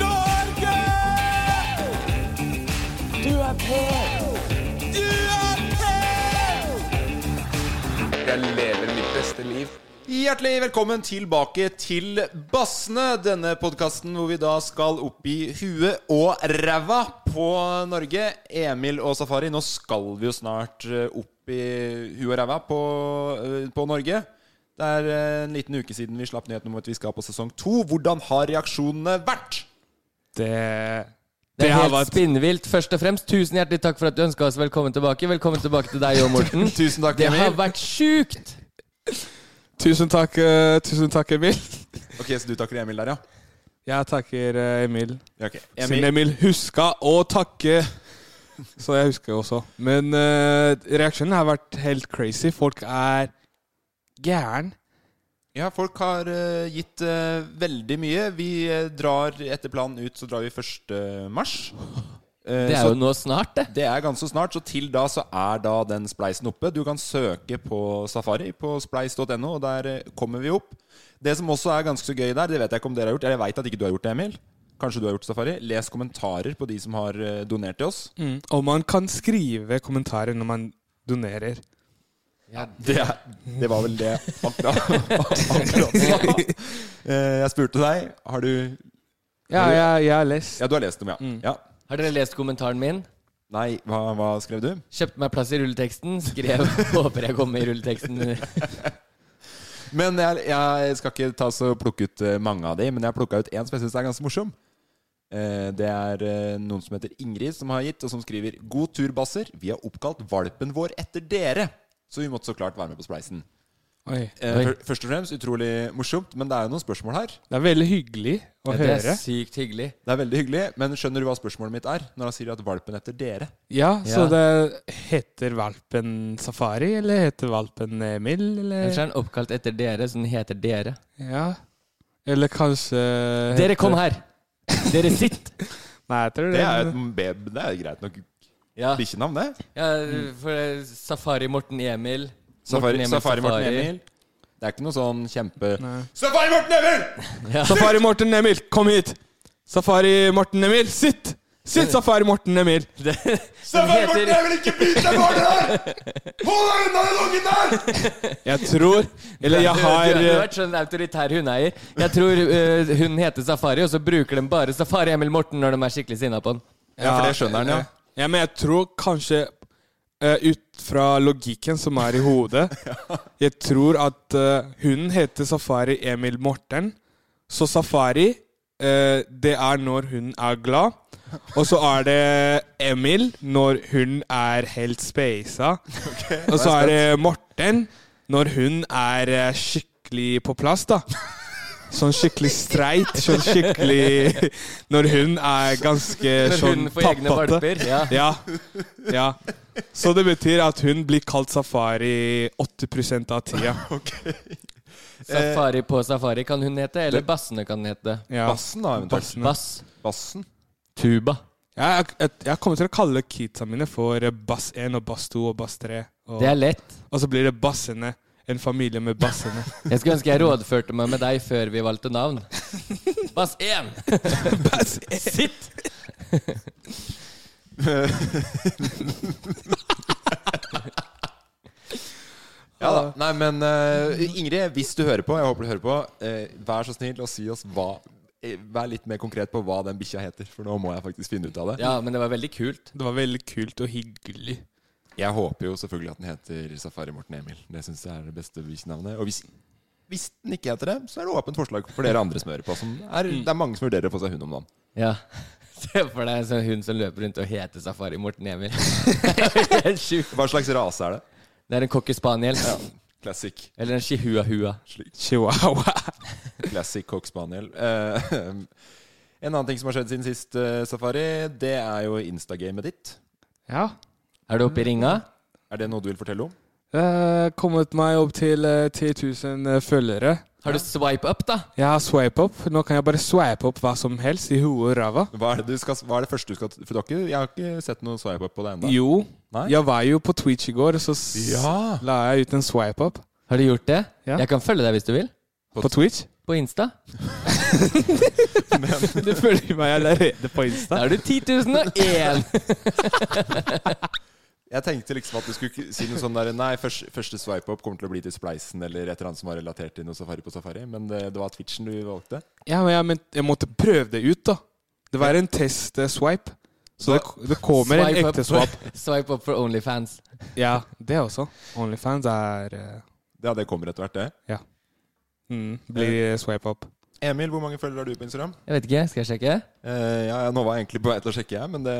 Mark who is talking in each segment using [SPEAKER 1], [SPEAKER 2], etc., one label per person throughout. [SPEAKER 1] Norge! Du er på! Du er på!
[SPEAKER 2] Jeg lever mitt beste liv.
[SPEAKER 3] Hjertelig velkommen tilbake til Bassene, denne podkasten hvor vi da skal opp i huet og ræva på Norge. Emil og Safari, nå skal vi jo snart eh, opp i huet og ræva på, eh, på Norge. Det er eh, en liten uke siden vi slapp nyheten om at vi skal på sesong to. Hvordan har reaksjonene vært?
[SPEAKER 2] Det,
[SPEAKER 4] Det er
[SPEAKER 2] har
[SPEAKER 4] helt
[SPEAKER 2] vært-
[SPEAKER 4] spinnvilt. Først og fremst, tusen hjertelig takk for at du ønska oss velkommen tilbake. Velkommen tilbake til deg òg, Morten.
[SPEAKER 3] Tusen takk,
[SPEAKER 4] Det har
[SPEAKER 3] Emil.
[SPEAKER 4] vært sjukt!
[SPEAKER 2] Tusen takk, eh, tusen takk, Emil.
[SPEAKER 3] Ok, Så du takker Emil der, ja?
[SPEAKER 2] Jeg takker eh, Emil.
[SPEAKER 3] ja ok.
[SPEAKER 2] Siden Emil huska å takke, så jeg husker jo også. Men eh, reaksjonen har vært helt crazy. Folk er gæren.
[SPEAKER 3] Ja, folk har eh, gitt eh, veldig mye. Vi eh, drar etter planen ut, så drar vi 1. mars. Eh,
[SPEAKER 4] Det er
[SPEAKER 3] så
[SPEAKER 4] jo nå snart, det.
[SPEAKER 3] det er ganske snart, så til da så er da den spleisen oppe. Du kan søke på Safari på spleis.no, og der eh, kommer vi opp. Det som også er ganske så gøy der, det vet jeg ikke om dere har gjort, eller jeg vet at ikke du har gjort det, Emil. Kanskje du har gjort Safari. Les kommentarer på de som har eh, donert til oss.
[SPEAKER 2] Og man kan skrive kommentarer når man donerer.
[SPEAKER 3] Det, er- det var vel det akkurat, akkurat nå. Eh, Jeg spurte deg, har du
[SPEAKER 2] Ja, jeg, jeg har lest.
[SPEAKER 3] Ja, du har lest dem, ja. ja.
[SPEAKER 4] Har dere lest kommentaren min?
[SPEAKER 3] Nei, hva, hva skrev du?
[SPEAKER 4] Kjøpte meg plass i rulleteksten. Skrev 'Håper jeg kommer i rulleteksten'.
[SPEAKER 3] Men jeg, jeg skal ikke ta så plukke ut eh, mange av de, men jeg har plukka ut én som jeg syns er ganske morsom. Eh, Det er eh, noen som heter Ingrid, som har gitt, og som skriver God tur, Basser. Vi har oppkalt valpen vår etter dere. Så vi måtte så klart være med på Spleisen.
[SPEAKER 2] Oi.
[SPEAKER 3] Eh,
[SPEAKER 4] Oi.
[SPEAKER 3] fyr- Først og fremst utrolig morsomt, men det er jo noen spørsmål her.
[SPEAKER 2] Det er veldig hyggelig å
[SPEAKER 4] Det er
[SPEAKER 2] høre.
[SPEAKER 4] sykt hyggelig.
[SPEAKER 3] Det er veldig hyggelig, men skjønner du hva spørsmålet mitt er? Når han sier at valpen etter dere.
[SPEAKER 2] Ja,
[SPEAKER 4] Ja.
[SPEAKER 2] så det heter valpen Safari, eller heter valpen Emil,
[SPEAKER 4] Ellers
[SPEAKER 2] eller
[SPEAKER 4] er den oppkalt etter dere, så den heter dere.
[SPEAKER 2] Ja. Eller kanskje
[SPEAKER 4] Dere, kom her! Dere sitt!
[SPEAKER 2] Nei, jeg tror
[SPEAKER 3] Det er jo et beb- det er jo greit nok
[SPEAKER 4] Ja,
[SPEAKER 3] bikkjenavn, det.
[SPEAKER 4] ja for Safari Morten Emil.
[SPEAKER 3] Safari
[SPEAKER 4] Emil,
[SPEAKER 3] Safari Morten Emil. Det er ikke noe sånn kjempe
[SPEAKER 2] Nei.
[SPEAKER 3] Safari Morten Emil!
[SPEAKER 2] Safari Morten Emil, kom hit! Safari Morten Emil, sitt! Sitt, Safari Morten Emil!
[SPEAKER 4] Safari Morten heter-
[SPEAKER 3] vil ikke bite deg barnet der! Hold deg unna den ungen der!
[SPEAKER 2] Jeg tror Eller jeg
[SPEAKER 4] Du,
[SPEAKER 2] har
[SPEAKER 4] du, du har
[SPEAKER 2] eh,
[SPEAKER 4] vært sånn autoritær hundeeier. Jeg tror eh, hun heter Safari, og så bruker de bare Safari Emil Morten når de er skikkelig sinna på den.
[SPEAKER 3] Ja, for det skjønner han, ja.
[SPEAKER 2] Ja, men jeg tror kanskje eh, ut fra logikken som er i hodet Jeg tror at eh, hunden heter Safari Emil Morten. Så Safari, eh, det er når hunden er glad. Og så er det Emil når hun er helt speisa. Og så er det Morten når hun er eh, skikkelig på plass, da. Sånn skikkelig streit. Sånn skikkelig Når hun er ganske
[SPEAKER 4] Når
[SPEAKER 2] sånn
[SPEAKER 4] hun får egne
[SPEAKER 2] tappete.
[SPEAKER 4] valper. Ja.
[SPEAKER 2] Ja. ja. Så det betyr at hun blir kalt safari 80 av tida.
[SPEAKER 4] Safari på safari kan hun hete, eller Bassene kan hun hete.
[SPEAKER 2] Ja.
[SPEAKER 3] Bassen, da, eventuelt.
[SPEAKER 2] Bassen.
[SPEAKER 4] Bass.
[SPEAKER 3] Bassen?
[SPEAKER 4] Tuba.
[SPEAKER 2] Jeg, jeg, jeg kommer til å kalle kidsa mine for eh, Bass 1 og Bass 2 og Bass 3. Og,
[SPEAKER 4] Det er lett.
[SPEAKER 2] og så blir det Bassene. En familie med bassene.
[SPEAKER 4] Jeg skulle ønske jeg rådførte meg med deg før vi valgte navn. Bass 1! Sitt!
[SPEAKER 3] Ja da. Nei, men eh, Ingrid, hvis du hører på, jeg håper du hører på, eh, vær så snill og si oss hva eh, Vær litt mer konkret på hva den bikkja heter, for nå må jeg faktisk finne ut av det.
[SPEAKER 4] Ja, men det var veldig kult.
[SPEAKER 2] Det var veldig kult og hyggelig.
[SPEAKER 3] Jeg håper jo selvfølgelig at den heter Safari Morten Emil. Det syns jeg er det beste bikkjenavnet. Og hvis, hvis den ikke heter det, så er det åpent forslag for dere andre som hører på. Som er, Det er mange som vurderer å få seg hund om dagen.
[SPEAKER 4] Ja. Se for deg en sånn hund som løper rundt og heter Safari Morten Emil. Det er sjukt.
[SPEAKER 3] Hva slags rase er det?
[SPEAKER 4] Det er en cocker spaniel.
[SPEAKER 3] Classic.
[SPEAKER 4] Eller en chihuahua.
[SPEAKER 2] Chihuahua.
[SPEAKER 3] Classic cock spaniel. Eh, en annen ting som har skjedd siden sist, eh, Safari, det er jo Instagamet ditt.
[SPEAKER 2] Ja.
[SPEAKER 4] Er du oppe i ringa?
[SPEAKER 3] Er det noe du vil fortelle om?
[SPEAKER 2] Jeg har Eh, kommet meg opp til eh, 10 000 følgere.
[SPEAKER 4] Har du swipe up, da?
[SPEAKER 2] Jeg har swipe up. Nå kan jeg bare swipe opp hva som helst i hodet og ræva.
[SPEAKER 3] Hva er, det du skal, hva er det første du skal For du har ikke, jeg har ikke sett noe swipe-up på det ennå.
[SPEAKER 2] Jo,
[SPEAKER 3] Nei?
[SPEAKER 2] jeg var jo på Twitch i går, og så s-
[SPEAKER 3] Ja.
[SPEAKER 2] la jeg ut en swipe up
[SPEAKER 4] Har du gjort det?
[SPEAKER 2] Ja.
[SPEAKER 4] Jeg kan følge deg hvis du vil.
[SPEAKER 2] på Twitch.
[SPEAKER 4] På Insta.
[SPEAKER 2] Du følger meg allerede på Insta.
[SPEAKER 4] Da er du 10.001!
[SPEAKER 3] Jeg tenkte liksom at du skulle ikke si noe sånn der Nei, første, første swipe-up kommer til å bli til Spleisen eller et eller annet som var relatert til noe Safari på Safari, men det, det var Twitchen du valgte.
[SPEAKER 2] Ja, men jeg, men jeg måtte prøve det ut, da. Det var en test-swipe. Så det, det kommer en
[SPEAKER 4] Swipe
[SPEAKER 2] ekte
[SPEAKER 4] up.
[SPEAKER 2] swap.
[SPEAKER 4] Swipe up for Onlyfans.
[SPEAKER 2] Ja, det også. Onlyfans er eh,
[SPEAKER 3] Ja, det kommer etter hvert, det.
[SPEAKER 2] Ja. Mm, blir swipe up.
[SPEAKER 3] Emil, hvor mange følgere har du på Instagram?
[SPEAKER 4] Jeg vet ikke, skal jeg sjekke?
[SPEAKER 3] Eh, ja, ja, nå var jeg egentlig på vei til å sjekke, jeg, men det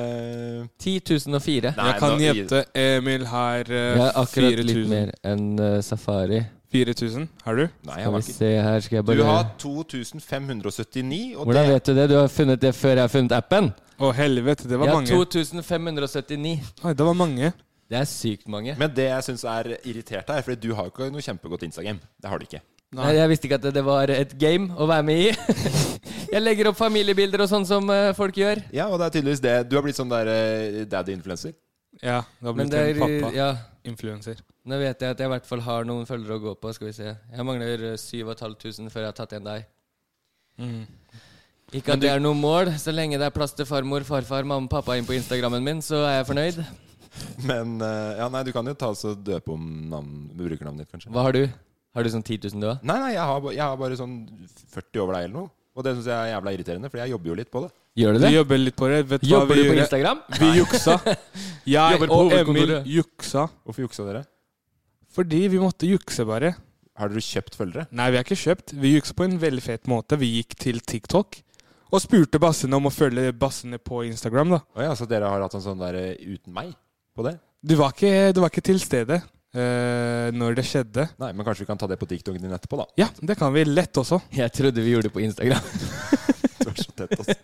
[SPEAKER 4] 10.004.
[SPEAKER 2] Jeg kan gjette Emil har
[SPEAKER 4] Jeg har
[SPEAKER 2] eh,
[SPEAKER 4] akkurat litt
[SPEAKER 2] 4000.
[SPEAKER 4] mer enn eh, Safari.
[SPEAKER 2] 4000. Har du?
[SPEAKER 3] Nei, jeg
[SPEAKER 4] Skal
[SPEAKER 3] var
[SPEAKER 4] vi
[SPEAKER 3] ikke
[SPEAKER 4] se her, skal jeg
[SPEAKER 3] Du
[SPEAKER 4] bare
[SPEAKER 3] har 2579, og
[SPEAKER 4] Hvordan
[SPEAKER 3] det
[SPEAKER 4] vet du det? Du har funnet det før jeg har funnet appen?
[SPEAKER 2] Å, helvete, det var
[SPEAKER 4] Jeg har
[SPEAKER 2] mange.
[SPEAKER 4] 2579.
[SPEAKER 2] Oi, det var mange.
[SPEAKER 4] Det er sykt mange.
[SPEAKER 3] Men det jeg syns er irritert her, Fordi du har jo ikke noe kjempegodt Instagram. Det har du ikke.
[SPEAKER 4] Nei, jeg visste ikke at det- det var et game å være med i. jeg legger opp familiebilder og sånn som eh, folk gjør.
[SPEAKER 3] Ja, og det er tydeligvis det. Du har blitt sånn der eh, daddy-influencer.
[SPEAKER 2] Ja, det har
[SPEAKER 4] Men
[SPEAKER 2] blitt
[SPEAKER 4] det
[SPEAKER 2] en
[SPEAKER 4] er
[SPEAKER 2] pappa.
[SPEAKER 4] Ja.
[SPEAKER 2] Influencer.
[SPEAKER 4] Nå vet jeg at jeg i hvert fall har noen følgere å gå på. Skal vi se. Jeg mangler eh, 7500 før jeg har tatt igjen deg.
[SPEAKER 3] Mm.
[SPEAKER 4] Ikke at det er noe mål. Så lenge det er plass til farmor, farfar, mamma og pappa inn på Instagrammen min, så er jeg fornøyd.
[SPEAKER 3] Men eh, ja, nei, du kan jo ta oss og døpe om navn, brukernavnet ditt, kanskje.
[SPEAKER 4] Hva har du? Har du sånn 10 000 du òg?
[SPEAKER 3] Nei, nei, jeg har, ba- jeg har bare sånn 40 over deg eller noe. Og det syns jeg er jævla irriterende, for jeg jobber jo litt på det.
[SPEAKER 4] Gjør du
[SPEAKER 2] Du
[SPEAKER 4] det?
[SPEAKER 2] jobber litt på det. Vet du hva
[SPEAKER 4] Jobber
[SPEAKER 2] vi
[SPEAKER 4] du på
[SPEAKER 2] gjorde?
[SPEAKER 4] Instagram?
[SPEAKER 2] Vi juksa.
[SPEAKER 4] Jobber
[SPEAKER 2] Jeg
[SPEAKER 4] på
[SPEAKER 2] og Emil
[SPEAKER 4] hovedkontoret.
[SPEAKER 2] juksa.
[SPEAKER 3] Hvorfor juksa dere?
[SPEAKER 2] Fordi vi måtte jukse, bare.
[SPEAKER 3] Har dere kjøpt følgere?
[SPEAKER 2] Nei, vi har ikke kjøpt. Vi juksa på en veldig fet måte. Vi gikk til TikTok og spurte bassene om å følge bassene på Instagram, da.
[SPEAKER 3] Å ja, så dere har hatt en sånn der eh, uten meg på det?
[SPEAKER 2] Du var ikke, du var ikke til stede eh, når det skjedde.
[SPEAKER 3] Nei, men kanskje vi kan ta det på TikToken din etterpå, da.
[SPEAKER 2] Ja, det kan vi lett også.
[SPEAKER 4] Jeg trodde vi gjorde det på Instagram.
[SPEAKER 3] Det var så tett, altså.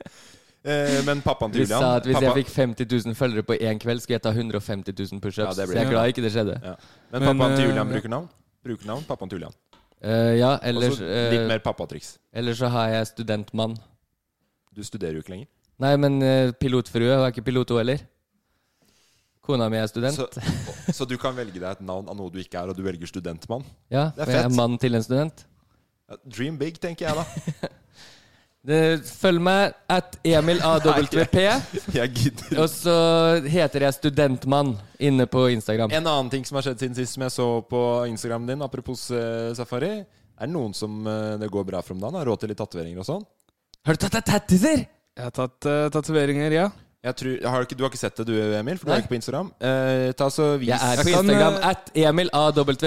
[SPEAKER 3] Eh, men pappaen
[SPEAKER 4] Vi
[SPEAKER 3] til
[SPEAKER 4] sa
[SPEAKER 3] Julian
[SPEAKER 4] at hvis
[SPEAKER 3] pappa,
[SPEAKER 4] jeg fikk 50 000 følgere på én kveld, skulle jeg ta 150 000 pushups.
[SPEAKER 3] Ja, det
[SPEAKER 4] så
[SPEAKER 3] blir
[SPEAKER 4] jeg er
[SPEAKER 3] det.
[SPEAKER 4] glad ikke det skjedde.
[SPEAKER 3] ja. Men
[SPEAKER 2] Men,
[SPEAKER 3] pappaen til
[SPEAKER 2] eh,
[SPEAKER 3] Julian
[SPEAKER 2] ja.
[SPEAKER 3] bruker navn? Brukernavn pappaen til Julian.
[SPEAKER 4] Eh, ja,
[SPEAKER 3] Og
[SPEAKER 4] ellers,
[SPEAKER 3] så litt
[SPEAKER 4] eh,
[SPEAKER 3] mer pappatriks.
[SPEAKER 4] ellers så har jeg studentmann.
[SPEAKER 3] Du studerer jo ikke lenger.
[SPEAKER 4] Nei, men eh, pilotfrue var ikke pilot, hun heller. Kona mi er student.
[SPEAKER 3] Så, så du kan velge deg et navn av noe du ikke er, og du velger studentmann?
[SPEAKER 4] ja,
[SPEAKER 3] det er
[SPEAKER 4] men jeg
[SPEAKER 3] fett.
[SPEAKER 4] er mann til en student.
[SPEAKER 3] Ja, Dream big, tenker jeg da.
[SPEAKER 4] Det- Følg meg at Emil AWP,
[SPEAKER 3] Jeg gidder.
[SPEAKER 4] og så heter jeg Studentmann inne på Instagram.
[SPEAKER 3] En annen ting som har skjedd siden sist, som jeg så på Instagramen din, apropos eh, safari. Er det noen som eh, det går bra for om dagen? Har råd til litt tatoveringer og sånn?
[SPEAKER 4] Har du tatt deg tattiser?
[SPEAKER 2] Jeg har tatt uh, tatoveringer, ja.
[SPEAKER 3] Jeg tror, har ikke, du har ikke sett det du, Emil? For du
[SPEAKER 4] Nei.
[SPEAKER 3] er ikke på Instagram. Eh, ta så vis
[SPEAKER 4] Jeg er
[SPEAKER 2] Jeg
[SPEAKER 4] på
[SPEAKER 2] kan,
[SPEAKER 4] Instagram
[SPEAKER 2] eh,
[SPEAKER 4] at Emil AWP.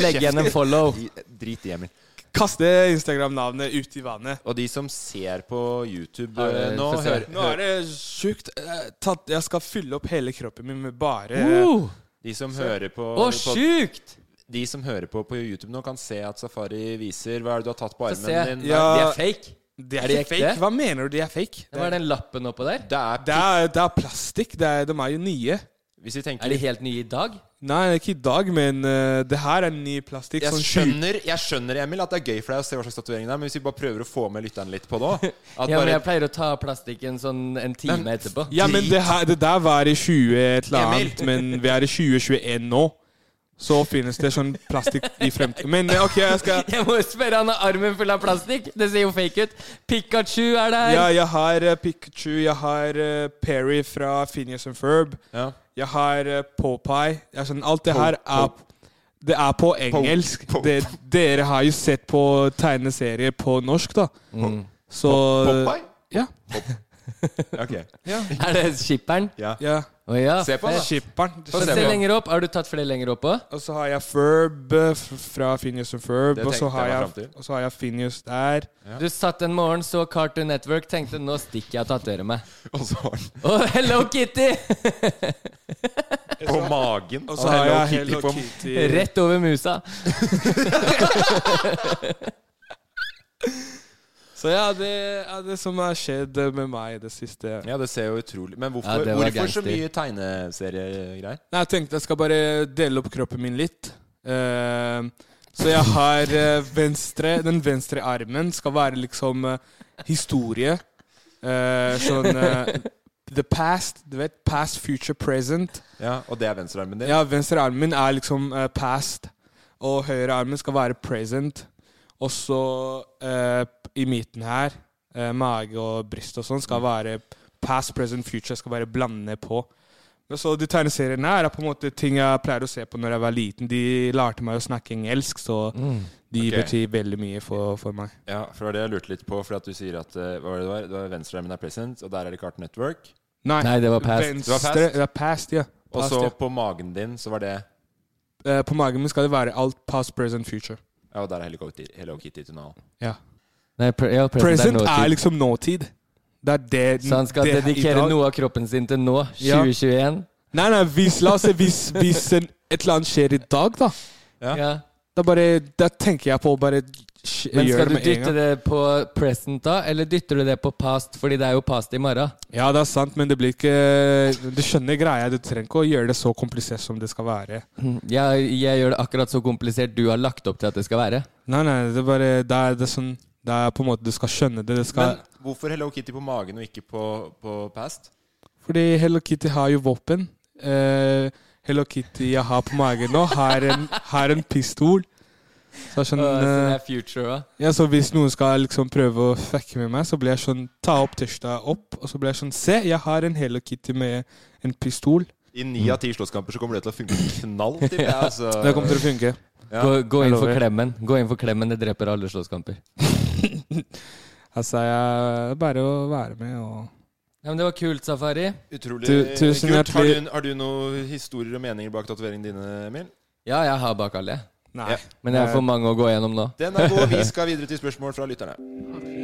[SPEAKER 4] Legg igjen en follow.
[SPEAKER 3] I- Drit i Emil.
[SPEAKER 2] Kaste Instagram-navnet ut i vannet.
[SPEAKER 3] Og de som ser på YouTube
[SPEAKER 4] Ja,
[SPEAKER 3] eh,
[SPEAKER 4] det-
[SPEAKER 3] nå,
[SPEAKER 4] få se.
[SPEAKER 3] hører,
[SPEAKER 2] Nå er det sjukt. eh, tatt, jeg skal fylle opp hele kroppen min med bare
[SPEAKER 4] Uh,
[SPEAKER 3] de som hører på,
[SPEAKER 4] Å,
[SPEAKER 3] på
[SPEAKER 4] sjukt!
[SPEAKER 3] De som hører på på YouTube nå, kan se at Safari viser Hva er det du har tatt på
[SPEAKER 4] Få se.
[SPEAKER 3] armen din?
[SPEAKER 2] Ja.
[SPEAKER 4] De er fake.
[SPEAKER 2] Det
[SPEAKER 4] Er
[SPEAKER 2] er,
[SPEAKER 4] de
[SPEAKER 2] ikke
[SPEAKER 4] ekte?
[SPEAKER 2] fake. Hva mener du de er fake?
[SPEAKER 4] Hva er den lappen oppå der?
[SPEAKER 3] Det er
[SPEAKER 2] Det er, det er plastikk. Det er, de er jo nye.
[SPEAKER 3] Hvis vi tenker
[SPEAKER 4] Er de helt nye i dag?
[SPEAKER 2] Nei, ikke i dag, men eh, det her er ny plastikk.
[SPEAKER 3] jeg
[SPEAKER 2] sånn
[SPEAKER 3] skjønner, jeg skjønner Emil, at det er gøy for deg å se hva slags tatovering det er, men hvis vi bare prøver å få med lytteren litt på det òg
[SPEAKER 4] Ja, men jeg pleier å ta plastikken sånn en time etterpå.
[SPEAKER 2] Ja, men det, her, det der var i 20 et eller annet, men vi er i 2021 nå. Så finnes det sånn plastikk i fremtiden. Men eh, OK, jeg skal
[SPEAKER 4] Jeg må jo spørre han har armen full av plastikk. Det ser jo fake ut. Pikachu er der.
[SPEAKER 2] Ja, jeg har eh, Pikachu, jeg har eh, Perry fra Phineas and Ferb.
[SPEAKER 3] Ja.
[SPEAKER 2] Jeg har uh, Popeye. Jeg er sånn, alt det her er Det er på engelsk.
[SPEAKER 3] Pope.
[SPEAKER 2] Det, dere har jo sett på tegneserier på norsk, da. Så
[SPEAKER 3] Mm. Popeye?
[SPEAKER 2] Ja.
[SPEAKER 3] Ok.
[SPEAKER 4] Er det skipperen?
[SPEAKER 3] Ja.
[SPEAKER 2] ja.
[SPEAKER 4] Å ja.
[SPEAKER 3] Se på han, da.
[SPEAKER 2] Skipperen.
[SPEAKER 4] Og
[SPEAKER 3] Se
[SPEAKER 4] se
[SPEAKER 3] på.
[SPEAKER 4] lenger opp. Har du tatt flere lenger opp òg?
[SPEAKER 2] Og så har jeg Ferb eh, f- fra Phineas and Ferb.
[SPEAKER 3] Det
[SPEAKER 2] Og så
[SPEAKER 3] tenkte
[SPEAKER 2] har
[SPEAKER 3] jeg
[SPEAKER 2] jeg,
[SPEAKER 3] meg frem til.
[SPEAKER 2] og så har jeg Phineas der.
[SPEAKER 4] Du satt en morgen, så Cartoon Network, tenkte nå stikker jeg og tatoverer meg.
[SPEAKER 3] Og så har han
[SPEAKER 4] Å, Hello Kitty!
[SPEAKER 3] på magen.
[SPEAKER 2] Og så har jeg Hello
[SPEAKER 3] på-
[SPEAKER 2] Kitty.
[SPEAKER 4] Rett over musa.
[SPEAKER 2] Så ja, det er det som har skjedd eh, med meg i det siste.
[SPEAKER 3] Ja, det ser jo utrolig Men
[SPEAKER 4] Ja,
[SPEAKER 3] hvorfor,
[SPEAKER 4] det var
[SPEAKER 3] hvorfor så
[SPEAKER 4] gangster.
[SPEAKER 3] mye tegneseriegreier?
[SPEAKER 2] Nei, jeg tenkte jeg skal bare dele opp kroppen min litt. Eh, så jeg har eh, venstre Den venstre armen skal være liksom eh, historie. Eh, sånn eh, The past. Du vet. Past, future, present.
[SPEAKER 3] Ja, og det er venstrearmen din?
[SPEAKER 2] Ja, venstre armen min er liksom eh, past, og høyre armen skal være present. Og så eh, i midten her, eh, mage og bryst og sånn, skal være past, present, future. Skal være blande på. Men så de tegneseriene her er på en måte ting jeg pleier å se på når jeg var liten. De lærte meg å snakke engelsk, så de
[SPEAKER 3] Mm, Ok.
[SPEAKER 2] betyr veldig mye for, for meg.
[SPEAKER 3] Ja, for det var det jeg lurte litt på. For at du sier at eh, hva var det det var? Det var venstrearmen er present, og der er det Cartoon Network.
[SPEAKER 4] Nei, det var past.
[SPEAKER 2] Venstre,
[SPEAKER 3] Det var past?
[SPEAKER 2] Det er past, ja.
[SPEAKER 3] Og
[SPEAKER 2] Past,
[SPEAKER 3] så
[SPEAKER 2] ja.
[SPEAKER 3] på magen din så var det
[SPEAKER 2] Eh, på magen min skal det være alt past, present, future.
[SPEAKER 3] Ja, og der er Hello Kitty- Hello Kitty-tunnelen.
[SPEAKER 2] Ja.
[SPEAKER 4] Nei, pre ja,
[SPEAKER 2] Present
[SPEAKER 4] nåtid.
[SPEAKER 2] er liksom nåtid. Det er det
[SPEAKER 4] Så han skal
[SPEAKER 2] det er i
[SPEAKER 4] dedikere
[SPEAKER 2] dag.
[SPEAKER 4] noe av kroppen sin til nå,
[SPEAKER 2] Ja.
[SPEAKER 4] 2021?
[SPEAKER 2] Nei, nei, hvis, la oss se hvis, hvis en, et eller annet skjer i dag, da.
[SPEAKER 3] Ja.
[SPEAKER 4] Ja.
[SPEAKER 2] Da, bare, da tenker jeg på å bare sk-
[SPEAKER 4] Men
[SPEAKER 2] gjøre
[SPEAKER 4] skal
[SPEAKER 2] det
[SPEAKER 4] du
[SPEAKER 2] med en
[SPEAKER 4] dytte
[SPEAKER 2] gang.
[SPEAKER 4] det på present da, eller dytter du det på past? Fordi det er jo past i morgen.
[SPEAKER 2] Ja, det er sant, men det blir ikke Du skjønner greia. Du trenger ikke å gjøre det så komplisert som det skal være.
[SPEAKER 4] Jeg, jeg gjør det akkurat så komplisert du har lagt opp til at det skal være.
[SPEAKER 2] Nei, nei, det er bare Det er, det er sånn det er på en måte Du skal skjønne det. det skal,
[SPEAKER 3] Men hvorfor Hello Kitty på magen og ikke på, på past?
[SPEAKER 2] fordi Hello Kitty har jo våpen. Eh, Hello Kitty jeg har på magen nå, har en, har en pistol. Så det er sånn
[SPEAKER 4] Og så
[SPEAKER 2] eh,
[SPEAKER 4] det er future også.
[SPEAKER 2] Ja, så hvis noen skal liksom prøve å fucke med meg, så blir jeg sånn Ta opp tørsta opp, og så blir jeg sånn Se, jeg har en Hello Kitty med en pistol.
[SPEAKER 3] I ni av ti slåsskamper så kommer det til å funke knall. Til, ja. altså.
[SPEAKER 2] Mm. Det kommer til å funke.
[SPEAKER 3] Ja.
[SPEAKER 4] Gå, gå
[SPEAKER 2] Jeg
[SPEAKER 4] inn for
[SPEAKER 2] lover.
[SPEAKER 4] klemmen. Gå inn for klemmen, det dreper alle slåsskamper.
[SPEAKER 2] Altså, jeg er bare å være med og
[SPEAKER 4] Ja, men det var kult, Safari.
[SPEAKER 3] Utrolig
[SPEAKER 2] Tu- tusen
[SPEAKER 3] kult. Har
[SPEAKER 2] hjertelig-
[SPEAKER 3] du, har du noen historier og meninger bak tatoveringene dine, Emil?
[SPEAKER 4] Ja, jeg har bak alle.
[SPEAKER 2] Nei.
[SPEAKER 4] Men
[SPEAKER 2] Eh,
[SPEAKER 4] jeg har for mange å gå gjennom nå.
[SPEAKER 3] Den er god. Vi skal videre til spørsmål fra lytterne.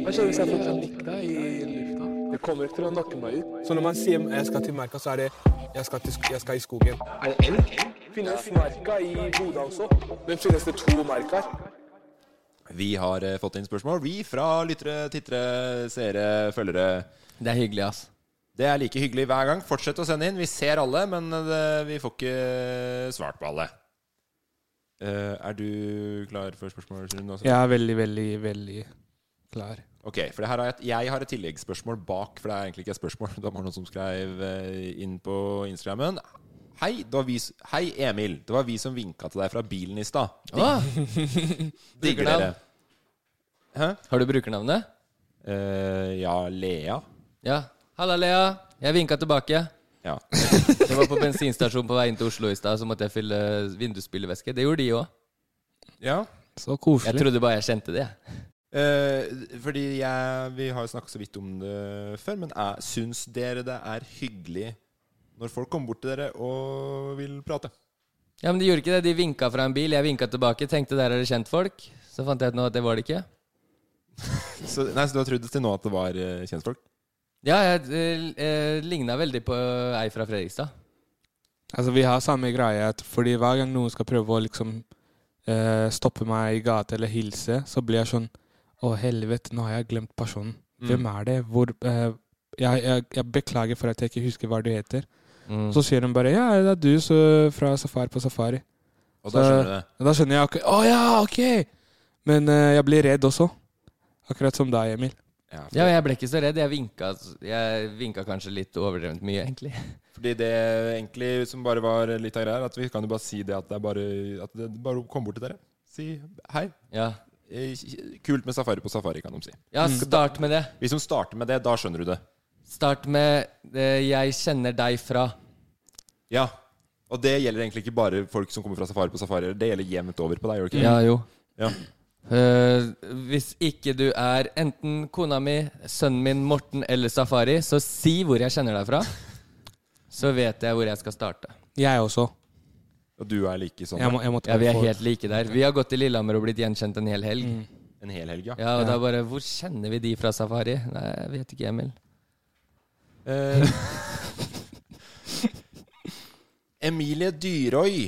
[SPEAKER 5] Hva skjer hvis jeg får panikk i lufta? Det kommer ikke til å nakke meg ut. Så når man sier jeg skal til merka, så er det jeg skal, i skogen. Er det elg? Finnes merka i Bodø også? Men finnes det to merker?
[SPEAKER 3] Vi har eh, fått inn spørsmål, vi, fra lyttere, tittere, seere, følgere.
[SPEAKER 4] Det er hyggelig, ass.
[SPEAKER 3] Det er like hyggelig hver gang. Fortsett å sende inn. Vi ser alle, men eh, vi får ikke svart på alle. Eh, er du klar for spørsmålsrunden også?
[SPEAKER 2] Jeg er veldig, veldig, veldig klar.
[SPEAKER 3] Ok, for det her har jeg, et- jeg har et tilleggsspørsmål bak, for det er egentlig ikke et spørsmål. Det var noen som skrev eh, inn på Instagrammen. Hei, det var vi, s- hei Emil, det var vi som vinka til deg fra bilen i stad.
[SPEAKER 4] Åh,
[SPEAKER 3] Digger
[SPEAKER 4] Brukernavn?
[SPEAKER 3] dere. Hæ?
[SPEAKER 4] har du brukernavnet?
[SPEAKER 3] Eh, ja, Lea.
[SPEAKER 4] Ja. Halla, Lea. Jeg vinka tilbake.
[SPEAKER 3] Ja.
[SPEAKER 4] Jeg var på bensinstasjonen på vei inn til Oslo i stad, så måtte jeg fylle vindusspylevæske. Det gjorde de òg.
[SPEAKER 3] ja.
[SPEAKER 2] Så
[SPEAKER 4] Jeg
[SPEAKER 2] koselig.
[SPEAKER 4] trodde bare jeg kjente det. jeg.
[SPEAKER 3] Eh, fordi jeg, vi har jo snakka så vidt om det før, men er, syns dere det er hyggelig når folk kommer bort til dere og vil prate?
[SPEAKER 4] Ja, Men de gjorde ikke det. De vinka fra en bil, jeg vinka tilbake. Tenkte der er det kjentfolk. Så fant jeg ut nå at det var det ikke.
[SPEAKER 3] Så, nei, så du har trodd til nå at det var eh, kjentfolk?
[SPEAKER 4] Ja, jeg eh, ligna veldig på eh, ei fra Fredrikstad.
[SPEAKER 2] Altså, vi har samme greie, at fordi hver gang noen skal prøve å liksom eh, stoppe meg i gata eller hilse, så blir jeg sånn Å, helvete, nå har jeg glemt
[SPEAKER 4] Mm.
[SPEAKER 2] personen. Hvem er det? Hvor eh, jeg, jeg, jeg beklager for at jeg ikke husker hva du heter.
[SPEAKER 4] Mm.
[SPEAKER 2] Så sier hun bare 'ja, det er du så fra safari på safari'.
[SPEAKER 3] Og da skjønner du det?
[SPEAKER 2] Da skjønner jeg. akkurat, Å ja, ok! Men eh, jeg blir redd også. Akkurat som deg, Emil.
[SPEAKER 4] Ja, men jeg ble ikke så redd. Jeg vinka, jeg vinka kanskje litt overdrevent mye, egentlig.
[SPEAKER 3] Fordi det egentlig som bare var litt av greia, er at vi kan jo bare si det at det er bare At det bare kom bort til dere. Si hei.
[SPEAKER 4] Ja.
[SPEAKER 3] Eh, Kult med safari på safari, kan de si.
[SPEAKER 4] Ja, start med det.
[SPEAKER 3] Hvis de starter med det, da skjønner du det.
[SPEAKER 4] Start med eh, 'jeg kjenner deg fra'.
[SPEAKER 3] Ja. Og det gjelder egentlig ikke bare folk som kommer fra safari på safari. Det gjelder jevnt over på deg, gjør det ikke?
[SPEAKER 4] Ja, jo.
[SPEAKER 3] Ja.
[SPEAKER 4] Eh, hvis ikke du er enten kona mi, sønnen min, Morten eller Safari, så si hvor jeg kjenner deg fra. Så vet jeg hvor jeg skal starte.
[SPEAKER 2] Jeg også.
[SPEAKER 3] Og du er like sånn.
[SPEAKER 2] Jeg må, jeg måtte
[SPEAKER 4] Ja, Vi er
[SPEAKER 2] få-
[SPEAKER 4] helt like der. Vi har gått til Lillehammer og blitt gjenkjent en hel helg.
[SPEAKER 3] En hel helg, ja.
[SPEAKER 4] Mm. Ja, og da bare Hvor kjenner vi de fra Safari? Nei, jeg vet ikke, Emil.
[SPEAKER 3] Eh, Emilie Dyrøy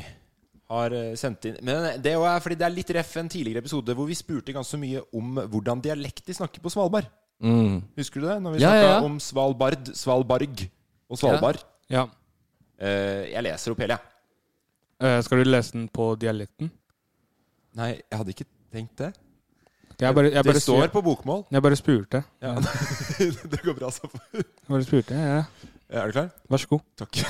[SPEAKER 3] har eh, sendt inn Men det er fordi det er litt ref en tidligere episode hvor vi spurte ganske mye om hvordan dialekt de snakker på Svalbard.
[SPEAKER 2] Mm.
[SPEAKER 3] Husker du det? Når vi
[SPEAKER 4] Ja,
[SPEAKER 3] snakka
[SPEAKER 4] ja, ja.
[SPEAKER 3] om Svalbard, Svalbarg og Svalbard.
[SPEAKER 2] Ja.
[SPEAKER 3] Eh, jeg leser opp hele, jeg.
[SPEAKER 2] Eh, skal du lese den på dialekten?
[SPEAKER 3] Nei, jeg hadde ikke tenkt det.
[SPEAKER 2] Jeg bare, jeg bare,
[SPEAKER 3] det står
[SPEAKER 2] spur-
[SPEAKER 3] på bokmål.
[SPEAKER 2] jeg bare spurte.
[SPEAKER 3] det går bra, Safari.
[SPEAKER 2] Jeg bare spurte, ja, ja.
[SPEAKER 3] Er du klar?
[SPEAKER 2] Vær så god.
[SPEAKER 3] Takk.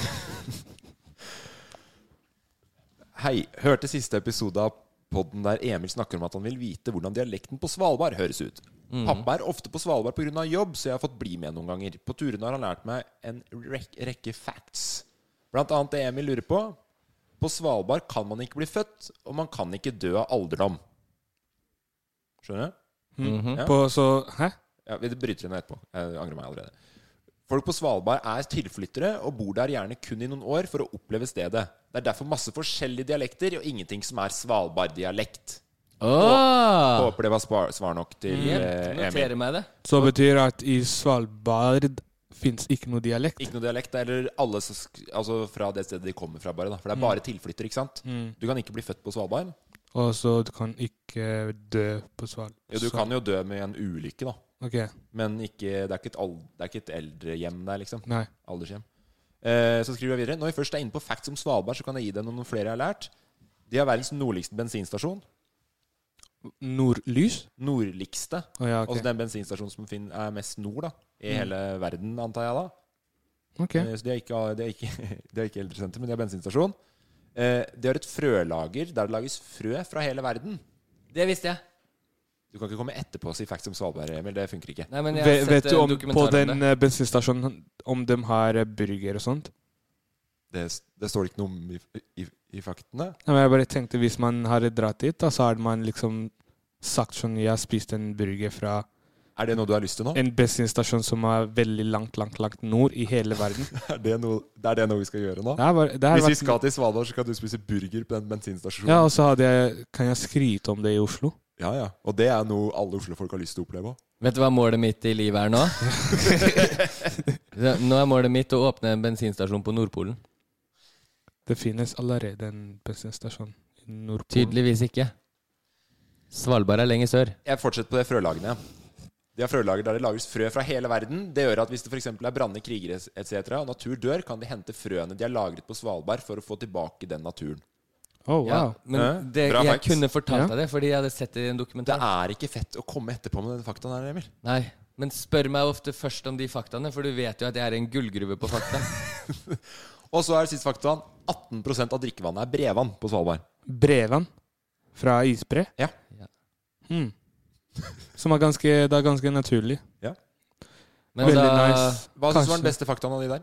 [SPEAKER 3] Hei. Hørte siste episode av podden der Emil snakker om at han vil vite hvordan dialekten på Svalbard høres ut. Pappa er ofte på Svalbard pga. jobb, så jeg har fått bli med noen ganger. På turene har han lært meg en rek rekke facts. Blant annet det Emil lurer på. På Svalbard kan man ikke bli født, og man kan ikke dø av alderdom. Skjønner du? Ja.
[SPEAKER 2] På så Hæ?
[SPEAKER 3] Ja, Vi bryter henne etterpå. Jeg angrer meg allerede. Folk på Svalbard er tilflyttere og bor der gjerne kun i noen år for å oppleve stedet. Det er derfor masse forskjellige dialekter og ingenting som er Svalbard-dialekt.
[SPEAKER 2] Ah!
[SPEAKER 4] Åh!
[SPEAKER 3] Håper det var svar, svar nok til eh, Emil.
[SPEAKER 4] Mm. Noterer meg det.
[SPEAKER 2] Så betyr at i Svalbard fins ikke noe dialekt?
[SPEAKER 3] Ikke noe dialekt, det er alle som sk- altså fra det stedet de kommer fra, bare. da For det er
[SPEAKER 4] Mm.
[SPEAKER 3] bare tilflyttere, ikke sant? Du kan ikke bli født på Svalbard.
[SPEAKER 2] Og så du kan ikke dø på Sval...
[SPEAKER 3] Jo, du kan jo dø med en ulykke, da.
[SPEAKER 2] Ok,
[SPEAKER 3] Men ikke, det, er ikke et ald, det er ikke et eldrehjem der, liksom.
[SPEAKER 2] nei.
[SPEAKER 3] Aldershjem. Eh, så skriver jeg videre. Når vi først er inne på facts om Svalbard, så kan jeg gi deg noen flere jeg har lært. De har verdens nordligste bensinstasjon.
[SPEAKER 2] Nordlys?
[SPEAKER 3] Nordligste.
[SPEAKER 2] Å ja, ok. Mm.
[SPEAKER 3] Altså den bensinstasjonen som fin- er mest nord da i hele verden, antar jeg da.
[SPEAKER 2] Ok.
[SPEAKER 3] Eh, så de har ikke, de har ikke, de har ikke eldresenter, men de har bensinstasjon. Eh, de har et frølager der det lages frø fra hele verden.
[SPEAKER 4] Det visste jeg.
[SPEAKER 3] Du kan ikke komme etterpå og si facts om Svalbard, Emil. Det funker ikke.
[SPEAKER 4] Nei, men jeg
[SPEAKER 2] Ve-
[SPEAKER 4] har
[SPEAKER 2] Vet
[SPEAKER 4] sett
[SPEAKER 2] du
[SPEAKER 4] en
[SPEAKER 2] om på
[SPEAKER 4] dokumentar
[SPEAKER 2] den
[SPEAKER 4] om det.
[SPEAKER 2] eh, bensinstasjonen om de har eh, burger og sånt?
[SPEAKER 3] Det, det står ikke noe om i, i, i faktene.
[SPEAKER 2] Nei, men jeg bare tenkte hvis man har dratt dit, da, så har man liksom sagt sånn Jeg har spist en burger fra
[SPEAKER 3] Er det noe du har lyst til nå?
[SPEAKER 2] en bensinstasjon som er veldig langt, langt, langt nord i hele verden.
[SPEAKER 3] Er det noe, det er det noe vi skal gjøre nå?
[SPEAKER 2] Det her var, det her
[SPEAKER 3] Hvis vi
[SPEAKER 2] var,
[SPEAKER 3] skal til Svalbard, så kan du spise burger på den bensinstasjonen.
[SPEAKER 2] ja, og så hadde jeg, kan jeg skryte om det i Oslo.
[SPEAKER 3] Ja, ja. Og det er noe alle Oslo-folk har lyst til å oppleve òg.
[SPEAKER 4] Vet du hva målet mitt i livet er nå? nå er målet mitt å åpne en bensinstasjon på Nordpolen.
[SPEAKER 2] Det finnes allerede en bensinstasjon i Nordpolen.
[SPEAKER 4] Tydeligvis ikke. Svalbard er lenger sør.
[SPEAKER 3] Jeg fortsetter på det frølagene. De har frølager der det lages frø fra hele verden. Det gjør at hvis det f.eks. er branner, kriger etc., og natur dør, kan de hente frøene de har lagret på Svalbard, for å få tilbake den naturen.
[SPEAKER 2] Oh, wow.
[SPEAKER 4] Ja, men
[SPEAKER 3] Hæ?
[SPEAKER 4] det,
[SPEAKER 3] Bra
[SPEAKER 4] jeg
[SPEAKER 3] facts.
[SPEAKER 4] kunne fortalt
[SPEAKER 2] Ja.
[SPEAKER 4] deg det, fordi jeg hadde sett det i en
[SPEAKER 3] Det
[SPEAKER 4] dokumentar.
[SPEAKER 3] er ikke fett å komme etterpå med den faktaen her, Emil.
[SPEAKER 4] Nei, men spør meg ofte først om de faktaene, for du vet jo at jeg er en gullgruve på fakta.
[SPEAKER 3] Og så er det siste faktaen. 18 av drikkevannet er brevann på Svalbard.
[SPEAKER 2] Brevan fra isbre, Hmm.
[SPEAKER 3] Ja.
[SPEAKER 2] som er ganske, det er ganske naturlig.
[SPEAKER 3] ja.
[SPEAKER 4] Men
[SPEAKER 2] Veldig
[SPEAKER 4] da,
[SPEAKER 2] nice.
[SPEAKER 3] Hva syns du var
[SPEAKER 2] Kanskje.
[SPEAKER 3] den beste faktaen av de der?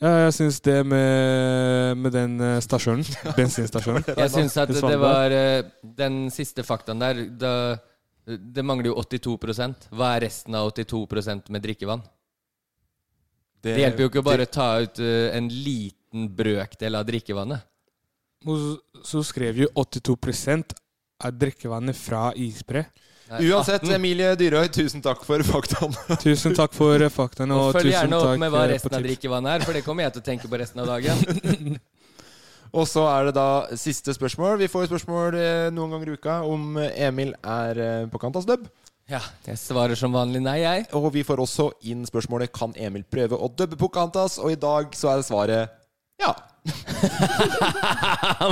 [SPEAKER 2] Ja, jeg syns det med, med den eh, stasjonen, bensinstasjonen
[SPEAKER 4] jeg syns at
[SPEAKER 2] I
[SPEAKER 4] det
[SPEAKER 2] Svalbard.
[SPEAKER 4] var eh, den siste faktaen der da, Det mangler jo 82 Hva er resten av 82 med drikkevann? Det hjelper jo ikke å bare ta ut eh, en liten brøkdel av drikkevannet.
[SPEAKER 2] Og så- så skrev jo 82 av drikkevannet fra isbre.
[SPEAKER 3] Uansett, Emilie Dyrøy, tusen takk for faktaen.
[SPEAKER 2] Tusen takk for eh, faktaene,
[SPEAKER 4] Og
[SPEAKER 2] og,
[SPEAKER 4] følg
[SPEAKER 2] tusen
[SPEAKER 4] gjerne
[SPEAKER 2] takk
[SPEAKER 4] opp med hva
[SPEAKER 2] eh, på
[SPEAKER 4] resten av
[SPEAKER 2] tips.
[SPEAKER 4] drikkevannet er, for det kommer jeg til å tenke på resten av dagen.
[SPEAKER 3] Og så er det da siste spørsmål. Vi får jo spørsmål eh, noen ganger i uka om Emil er eh, på Kantas dub.
[SPEAKER 4] Ja, Jeg svarer som vanlig nei, jeg.
[SPEAKER 3] Og vi får også inn spørsmålet Kan Emil prøve å dubbe på Kantas. Og i dag så er svaret Ja.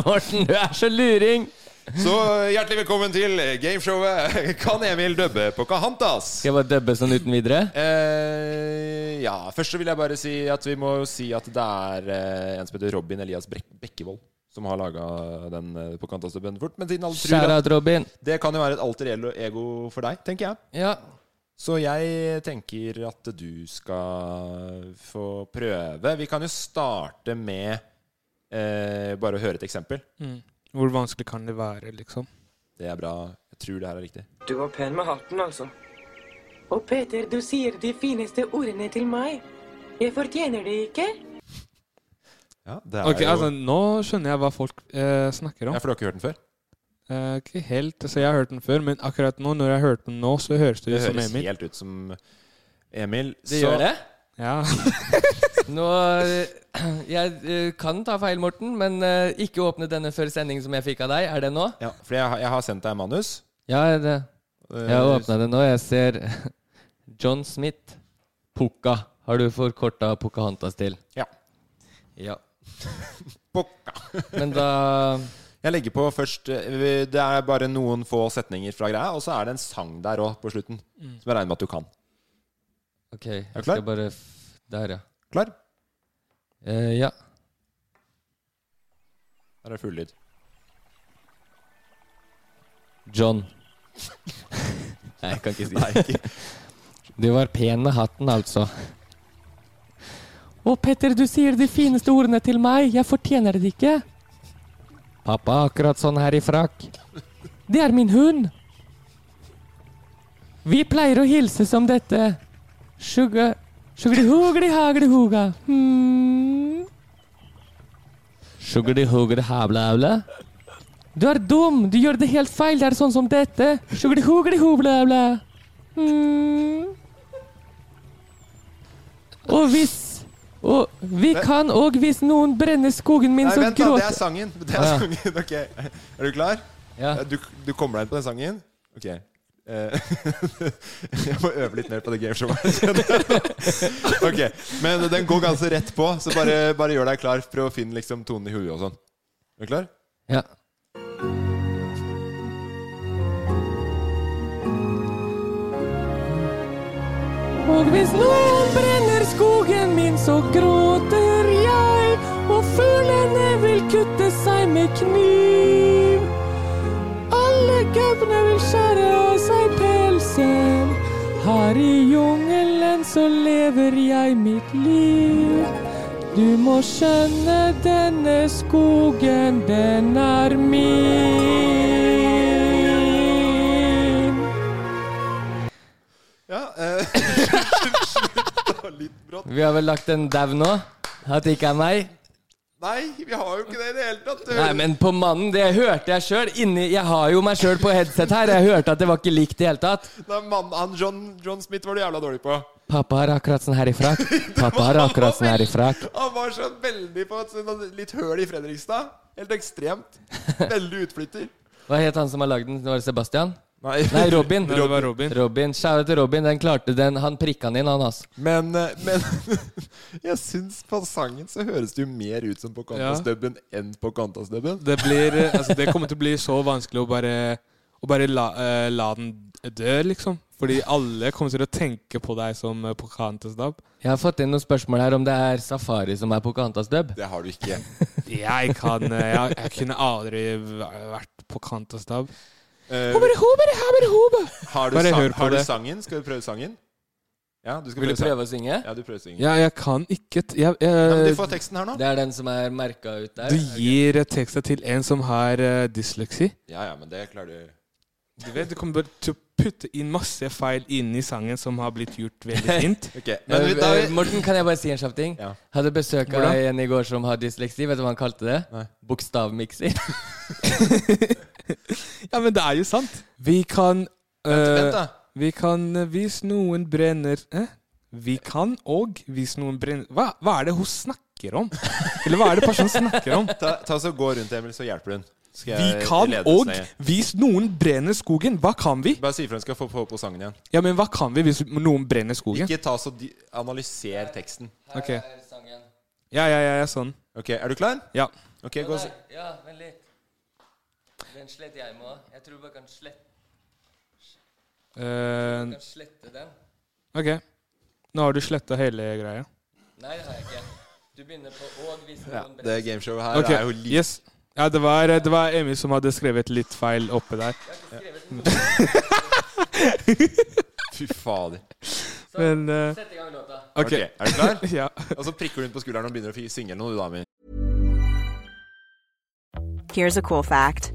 [SPEAKER 4] Morten, du er så luring!
[SPEAKER 3] Så eh, hjertelig velkommen til eh, gameshowet Kan Emil dubbe Pocahontas?
[SPEAKER 4] Skal jeg bare dubbe sånn uten videre?
[SPEAKER 3] Eh, ja, først så vil jeg bare si at vi må jo si at det er eh, en som heter Robin Elias Brek Bekkevold som har laga den eh, Pocahontas-dubben fort. Men siden alle tror
[SPEAKER 4] Shout
[SPEAKER 3] at
[SPEAKER 4] out, Robin.
[SPEAKER 3] det kan jo være et alter ego for deg, tenker jeg.
[SPEAKER 4] Ja.
[SPEAKER 3] Så jeg tenker at du skal få prøve. Vi kan jo starte med eh, bare å høre et eksempel.
[SPEAKER 2] Hvor vanskelig kan det være, liksom?
[SPEAKER 3] Det er bra. Jeg tror det her er riktig.
[SPEAKER 6] Du var pen med hatten, altså. Og Peter, du sier de fineste ordene til meg. Jeg fortjener det ikke.
[SPEAKER 3] Ja, det er
[SPEAKER 2] Ok,
[SPEAKER 3] jo
[SPEAKER 2] altså, Nå skjønner jeg hva folk eh, snakker om.
[SPEAKER 3] Ja, for du har ikke hørt den før?
[SPEAKER 2] Eh, ikke helt. Altså, jeg har hørt den før, men akkurat nå, når jeg hørte den nå, så høres det
[SPEAKER 3] Det
[SPEAKER 2] ut som
[SPEAKER 3] høres
[SPEAKER 2] Emil.
[SPEAKER 3] helt ut som Emil.
[SPEAKER 4] Det
[SPEAKER 3] så-
[SPEAKER 4] gjør det?
[SPEAKER 2] Ja.
[SPEAKER 4] Nå eh, Jeg eh, kan ta feil, Morten, men eh, ikke åpne denne før sending som jeg fikk av deg. Er det nå?
[SPEAKER 3] Ja, for jeg, har- jeg har sendt deg manus.
[SPEAKER 4] Ja, det.
[SPEAKER 3] Eh,
[SPEAKER 4] jeg åpna det nå. Jeg ser John Smith. Pukka. Har du forkorta Pocahontas til?
[SPEAKER 3] Ja.
[SPEAKER 4] Ja.
[SPEAKER 3] Pokka.
[SPEAKER 4] Men da
[SPEAKER 3] Jeg legger på først eh, vi- Det er bare noen få setninger fra greia, og så er det en sang der òg på slutten.
[SPEAKER 4] Mm.
[SPEAKER 3] Som jeg regner med at du kan.
[SPEAKER 4] OK, jeg
[SPEAKER 3] klar?
[SPEAKER 4] skal bare f Der, ja.
[SPEAKER 3] Klar?
[SPEAKER 4] Eh, ja.
[SPEAKER 3] Her er det full lyd.
[SPEAKER 4] John. Nei, jeg kan ikke si det.
[SPEAKER 3] ikke-
[SPEAKER 4] Du var pen med hatten, altså. Å, Petter, du sier de fineste ordene til meg. Jeg fortjener det ikke. Pappa er akkurat sånn her i frakk. Det er min hund. Vi pleier å hilse som dette. Sugar Sugardi-hugdi-hagdi-huga. Hmm. Sugardi-hugdi-habla-habla. Du er dum! Du gjør det helt feil! Det er sånn som dette! Sjugli-hugli-hubla-bla. Mm. Og hvis Og vi kan òg hvis noen brenner skogen min,
[SPEAKER 3] Nei,
[SPEAKER 4] så
[SPEAKER 3] vent, da. Det er
[SPEAKER 4] gråter
[SPEAKER 3] sangen. Det er
[SPEAKER 4] Ah, ja.
[SPEAKER 3] sangen. Ok. Er du klar?
[SPEAKER 4] Ja.
[SPEAKER 3] Du, du kommer deg inn på den sangen? Ok. Eh, jeg må øve litt mer på det gameshowet. kjenner jeg. ok, Men den går ganske rett på, så bare, bare gjør deg klar. Prøv å finne liksom tonen i huet og sånn. Er du klar?
[SPEAKER 4] Ja. Og hvis noen brenner skogen min, så gråter jeg. Og fuglene vil kutte seg med kniv. Alle gaupene vil skjære av seg pelsen. Her i jungelen så lever jeg mitt liv. Du må skjønne denne skogen, den er min.
[SPEAKER 3] Ja. eh, det var litt brått.
[SPEAKER 4] Vi har vel lagt en dau nå? At det ikke er meg?
[SPEAKER 3] Nei, vi har jo ikke det i det hele tatt.
[SPEAKER 4] Nei, men på mannen, det hørte jeg sjøl. Jeg har jo meg sjøl på headset her. Jeg hørte at det var ikke likt i det hele tatt.
[SPEAKER 3] Nei, mann, han John, John Smith var du jævla dårlig på.
[SPEAKER 4] Pappa har akkurat sånn her i frakk. Pappa har akkurat sånn her i frakk.
[SPEAKER 3] Han var så veldig på et sånn litt høl i Fredrikstad. Helt ekstremt. Veldig utflytter.
[SPEAKER 4] Hva het han som har lagd den? Var det Sebastian?
[SPEAKER 3] Nei,
[SPEAKER 4] Nei, Robin.
[SPEAKER 2] Nei, det var Robin.
[SPEAKER 4] Robin, Shout til Robin. Den klarte den. Han prikka den inn, han, altså.
[SPEAKER 3] Men, eh, men jeg syns på sangen så høres det jo mer ut som på Kantasdubben enn på Kantasdubben.
[SPEAKER 2] Det, blir, eh, altså, det kommer til å bli så vanskelig å bare, å bare la, eh, la den dø, liksom. Fordi alle kommer til å tenke på deg som uh, Pocahontas Dab.
[SPEAKER 4] Jeg har fått inn noen spørsmål her om det er Safari som er Pocahontas dub.
[SPEAKER 3] Det har du ikke.
[SPEAKER 2] Jeg kan eh, jeg, jeg kunne aldri v- vært Pocahontas Dab.
[SPEAKER 3] Eh, har du,
[SPEAKER 2] Bare
[SPEAKER 3] sang,
[SPEAKER 2] hør på
[SPEAKER 3] har du
[SPEAKER 2] det.
[SPEAKER 3] sangen? Skal vi prøve sangen? Ja, du skal
[SPEAKER 4] Vil
[SPEAKER 3] prøve
[SPEAKER 4] du
[SPEAKER 3] sangen.
[SPEAKER 4] prøve å synge?
[SPEAKER 3] Ja, du prøver sangen.
[SPEAKER 2] Ja, jeg kan ikke t jeg, eh, jeg,
[SPEAKER 3] Ja, men du får teksten her nå.
[SPEAKER 4] Det er den som er merka ut der.
[SPEAKER 2] Du gir eh, teksten til en som har eh, dysleksi.
[SPEAKER 3] Ja, ja, men det klarer du.
[SPEAKER 2] Du vet, du kommer bare til å putte inn masse feil inni sangen som har blitt gjort veldig fint.
[SPEAKER 3] Ok, men vi, da,
[SPEAKER 4] Eh, Morten, kan jeg bare si en kjapp ting?
[SPEAKER 3] Ja.
[SPEAKER 4] Hadde besøk av
[SPEAKER 2] Hvordan?
[SPEAKER 4] en i går som har dysleksi. Vet du hva han kalte det?
[SPEAKER 3] Nei.
[SPEAKER 4] Bokstavmikser.
[SPEAKER 2] Ja, men det er jo sant. Vi kan eh,
[SPEAKER 3] vent, da.
[SPEAKER 2] Vi kan eh, hvis noen brenner eh? Vi kan og hvis noen brenner hva, hva er det hun snakker om? Eller hva er det personen snakker om?
[SPEAKER 3] Ta, ta så Gå rundt, Emil, så hjelper hun. Skal
[SPEAKER 2] Vi
[SPEAKER 3] jeg
[SPEAKER 2] kan
[SPEAKER 3] lede oss
[SPEAKER 2] og
[SPEAKER 3] ned.
[SPEAKER 2] hvis noen brenner skogen. Hva kan vi?
[SPEAKER 3] Bare si ifra hun skal få på, på sangen igjen.
[SPEAKER 2] Ja, men hva kan vi hvis noen brenner skogen?
[SPEAKER 3] Ikke ta så di- analyser teksten.
[SPEAKER 2] Ok. Ja, ja, ja, ja sånn.
[SPEAKER 3] Ok, Er du klar?
[SPEAKER 2] Ja.
[SPEAKER 3] Ok, gå og se.
[SPEAKER 4] Ja, vent litt. Den sletter jeg med òg. Jeg tror bare kan slette
[SPEAKER 3] Mm.
[SPEAKER 2] Eh,
[SPEAKER 4] kan slette den.
[SPEAKER 2] ok. Nå har du sletta hele greia.
[SPEAKER 4] Nei, det har jeg ikke. Du begynner på og viser
[SPEAKER 3] Ja,
[SPEAKER 4] noen
[SPEAKER 3] det gameshowet her
[SPEAKER 2] Ok,
[SPEAKER 3] er jo litt
[SPEAKER 2] Yes. Ja, det var, det var Emil som hadde skrevet litt feil oppe der.
[SPEAKER 3] Fy fader.
[SPEAKER 2] Men eh,
[SPEAKER 3] Ok, Er du klar?
[SPEAKER 2] ja.
[SPEAKER 3] Og så prikker du inn på skulderen og begynner å fi- synge eller noe, du, da, Ami.
[SPEAKER 7] Here's a cool fact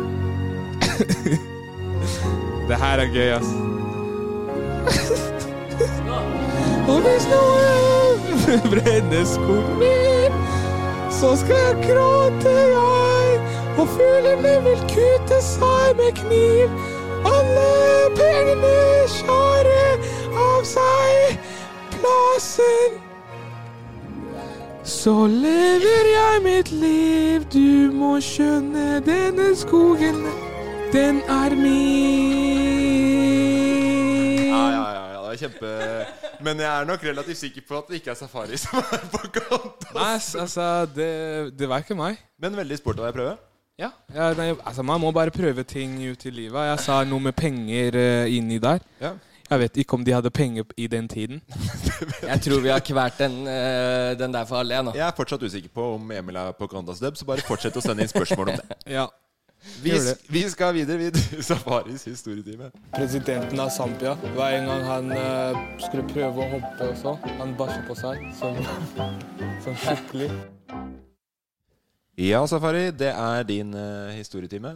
[SPEAKER 2] det her er gøy, ass. Om det snør brenner skogen min, så skal jeg gråte, jeg. Og fuglene vil kutte seg med kniv. Alle pengene skjærer av seg plassen. Så lever jeg mitt liv, du må skjønne denne skogen, den er min.
[SPEAKER 3] Ja, ja, ja, ja, det er kjempe Men jeg er nok relativt sikker på at det ikke er Safari som er på kant.
[SPEAKER 2] Nei, s- altså, det, det var ikke meg.
[SPEAKER 3] Men veldig sport av deg å prøve.
[SPEAKER 2] Ja, ja nei, altså, Man må bare prøve ting ut i livet. Jeg sa noe med penger eh, inni der.
[SPEAKER 3] Ja.
[SPEAKER 2] Jeg vet ikke om de hadde penger i den tiden.
[SPEAKER 4] Jeg tror vi har kvært den, eh, den der for alle, jeg nå.
[SPEAKER 3] Jeg er fortsatt usikker på om Emil er på Condas Dub, så bare fortsett å sende inn spørsmål om det.
[SPEAKER 2] Ja.
[SPEAKER 3] Vi,
[SPEAKER 2] Gjør det.
[SPEAKER 3] sk- vi skal videre vi, til Safaris historietime.
[SPEAKER 5] Presidenten av Zambia. Hver en gang han eh, skulle prøve å hoppe og sånn, han bæsja på seg sånn, sånn skikkelig.
[SPEAKER 3] Ja, Safari, det er din eh, historietime.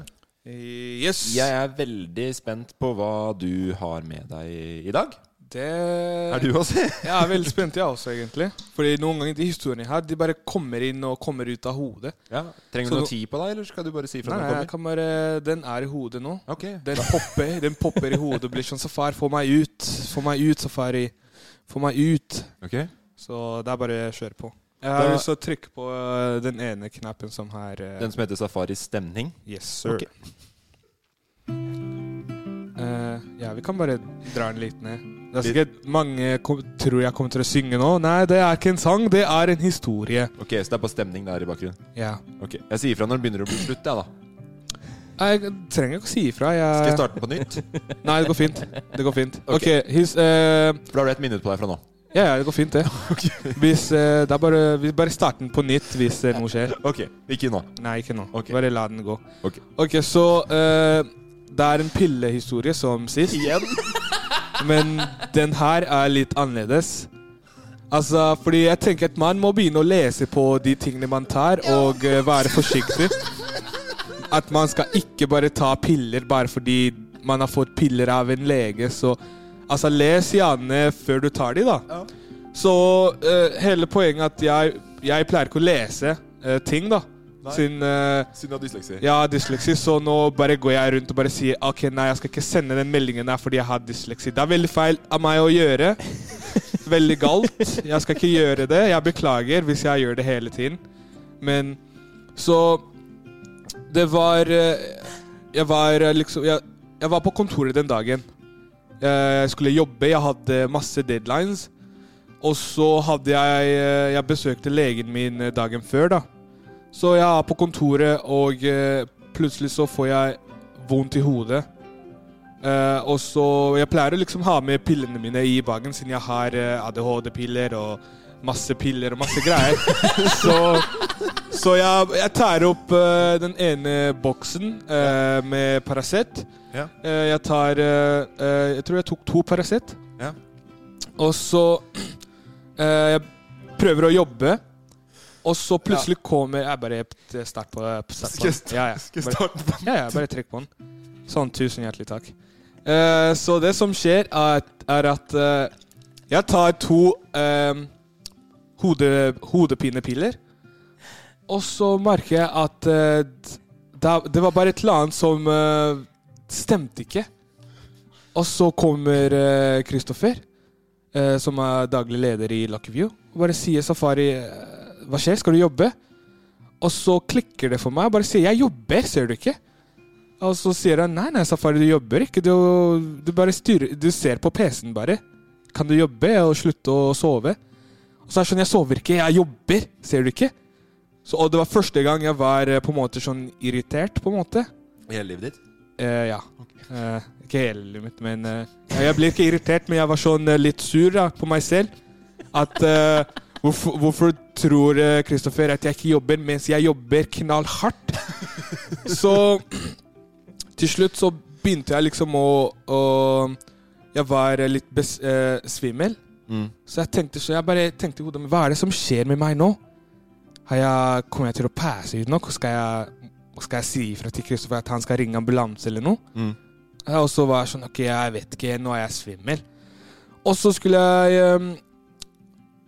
[SPEAKER 2] Yes.
[SPEAKER 3] Jeg er veldig spent på hva du har med deg i dag.
[SPEAKER 2] Det
[SPEAKER 3] Er du også?
[SPEAKER 2] jeg er veldig spent, jeg også, egentlig. Fordi noen ganger de historiene her, de bare kommer inn og kommer ut av hodet.
[SPEAKER 3] Ja, Trenger
[SPEAKER 2] Så
[SPEAKER 3] du
[SPEAKER 2] nå-
[SPEAKER 3] noe tid på deg, eller skal du bare si fra
[SPEAKER 2] Nei,
[SPEAKER 3] når
[SPEAKER 2] nei,
[SPEAKER 3] det
[SPEAKER 2] jeg kan bare, den er i hodet nå.
[SPEAKER 3] Ok.
[SPEAKER 2] Den, popper, den popper i hodet og blir sånn Safari, få meg ut! Få meg ut, Safari! Få meg ut!
[SPEAKER 3] Ok.
[SPEAKER 2] Så det er bare å kjøre på. Jeg
[SPEAKER 3] Da-
[SPEAKER 2] har lyst til å trykke på eh, den ene knappen som her eh,
[SPEAKER 3] kommer? Den som heter Safaris stemning?
[SPEAKER 2] Yes, sir.
[SPEAKER 3] Ok.
[SPEAKER 2] eh, Ja, vi kan bare dra den litt ned. Det er sikkert mange kom, tror jeg kommer til å synge nå. Nei, det er ikke en sang, det er en historie.
[SPEAKER 3] Ok, Så det er bare stemning der i bakgrunnen?
[SPEAKER 2] Ja.
[SPEAKER 3] Ok, Jeg sier ifra når det begynner å bli slutt, jeg, da.
[SPEAKER 2] Jeg trenger ikke å si ifra. Jeg...
[SPEAKER 3] Skal jeg starte på nytt?
[SPEAKER 2] Nei, det går fint. Det går fint.
[SPEAKER 3] Ok.
[SPEAKER 2] Ok, his, eh,
[SPEAKER 3] For da har du et minutt på deg fra nå.
[SPEAKER 2] Ja, ja, det går fint, det. Hvis, eh, det er bare, vi bare starter den på nytt hvis eh, noe skjer.
[SPEAKER 3] Ok, ikke nå.
[SPEAKER 2] Nei, ikke nå.
[SPEAKER 3] Ok.
[SPEAKER 2] Bare la den gå.
[SPEAKER 3] Ok.
[SPEAKER 2] så eh, det er en pillehistorie som sist.
[SPEAKER 3] Igjen?
[SPEAKER 2] Men den her er litt annerledes. Altså, fordi jeg tenker at man må begynne å lese på de tingene man tar, og eh, være forsiktig. At man skal ikke bare ta piller bare fordi man har fått piller av en lege, så Altså, les gjerne før du tar de, da. Så eh, hele poenget er at jeg, jeg pleier ikke å lese eh, ting, da.
[SPEAKER 3] Nei.
[SPEAKER 2] Siden eh,
[SPEAKER 3] Siden du har dysleksi.
[SPEAKER 2] ja, dysleksi, så nå bare går jeg rundt og bare sier Ok, nei, jeg skal ikke sende den meldingen her fordi jeg har dysleksi. Det er veldig feil av meg å gjøre. Veldig galt. Jeg skal ikke gjøre det. Jeg beklager hvis jeg gjør det hele tiden. Men så Det var eh, Jeg var eh, liksom Jeg, jeg var på kontoret den dagen. Eh, Jeg skulle jobbe, jeg hadde masse deadlines. Og så hadde jeg eh, Jeg besøkte legen min eh, dagen før, da. Så jeg er på kontoret, og eh, plutselig så får jeg vondt i hodet. Eh, og så Jeg pleier å liksom ha med pillene mine i bagen, siden jeg har eh, ADHD-piller og masse piller og masse greier. så så jeg, jeg tar opp eh, den ene boksen eh, med Paracet.
[SPEAKER 3] Ja.
[SPEAKER 2] Eh, jeg tar eh, eh, Jeg tror jeg tok to Paracet.
[SPEAKER 3] Ja.
[SPEAKER 2] Og så eh, Jeg prøver å jobbe, og så plutselig kommer Jeg bare eh, start på, start på.
[SPEAKER 3] Skal jeg sta-
[SPEAKER 2] ja, ja.
[SPEAKER 3] skal jeg
[SPEAKER 2] Bare-
[SPEAKER 3] starte på
[SPEAKER 2] Ja, ja, bare trekk på den. Sånn, tusen hjertelig takk. Eh, så det som skjer, er, er at eh, jeg tar to eh, hode, hodepinepiller, og så merker jeg at eh, d- da, det var bare et eller annet som eh, stemte ikke. Og så kommer eh, Kristoffer, eh, som er daglig leder i Lucky View, og bare sier Safari eh, Hva skjer, skal du jobbe? Og så klikker det for meg. Jeg bare sier 'jeg jobber', ser du ikke? Og så sier han 'nei, nei, Safari, du jobber ikke. Du, du bare styrer Du ser på PC-en, bare. Kan du jobbe og slutte å sove? Og så er det sånn 'jeg sover ikke, jeg jobber', ser du ikke? Så, og det var første gang jeg var eh, på en måte sånn irritert, på en måte.
[SPEAKER 3] I hele livet ditt?
[SPEAKER 2] Eh, ja. Eh, ikke hele livet mitt, men eh, ja, Jeg ble ikke irritert, men jeg var sånn eh, litt sur da, på meg selv. At eh, hvorfor, hvorfor tror eh, Kristoffer at jeg ikke jobber mens jeg jobber knallhardt? så til slutt så begynte jeg liksom å, å Jeg var eh, litt bes, eh, svimmel.
[SPEAKER 3] Mm.
[SPEAKER 2] Så jeg tenkte så jeg bare tenkte i hodet mitt Hva er det som skjer med meg nå? Har jeg, kommer jeg til å passe ut nok? Skal jeg, skal jeg si ifra til Kristoffer at han skal ringe ambulanse eller noe?
[SPEAKER 3] Mm.
[SPEAKER 2] Og så var jeg sånn Ok, jeg vet ikke, nå er jeg svimmel. Og så skulle jeg ehm,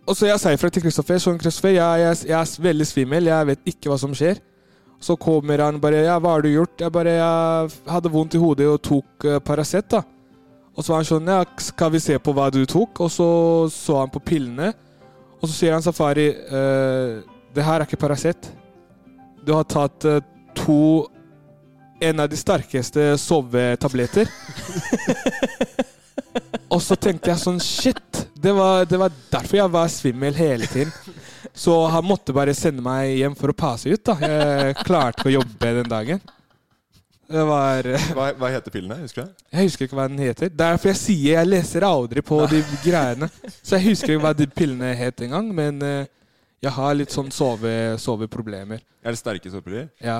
[SPEAKER 2] Og så jeg sa ifra til Kristoffer. Sånn, Kristoffer, jeg, jeg, jeg er veldig svimmel, jeg vet ikke hva som skjer. Så kommer han bare Ja, hva har du gjort? Jeg bare Jeg hadde vondt i hodet og tok uh, Paracet, da. Og så var han sånn Ja, skal vi se på hva du tok? Og så så han på pillene. Og så sier han Safari eh, Det her er ikke Paracet. Du har tatt eh, to En av de sterkeste sovetabletter. og så tenkte jeg sånn Shit! Det var, det var derfor jeg var svimmel hele tiden. Så han måtte bare sende meg hjem for å passe ut, da. Jeg klarte ikke å jobbe den dagen. Det var
[SPEAKER 3] Hva, hva heter pillene? Husker du det?
[SPEAKER 2] jeg husker ikke hva den heter. Det er derfor jeg sier jeg leser aldri på de greiene. Så jeg husker ikke hva de pillene het engang, men eh, jeg har litt sånn sove, soveproblemer.
[SPEAKER 3] Er det sterke sårpiller?
[SPEAKER 2] Ja.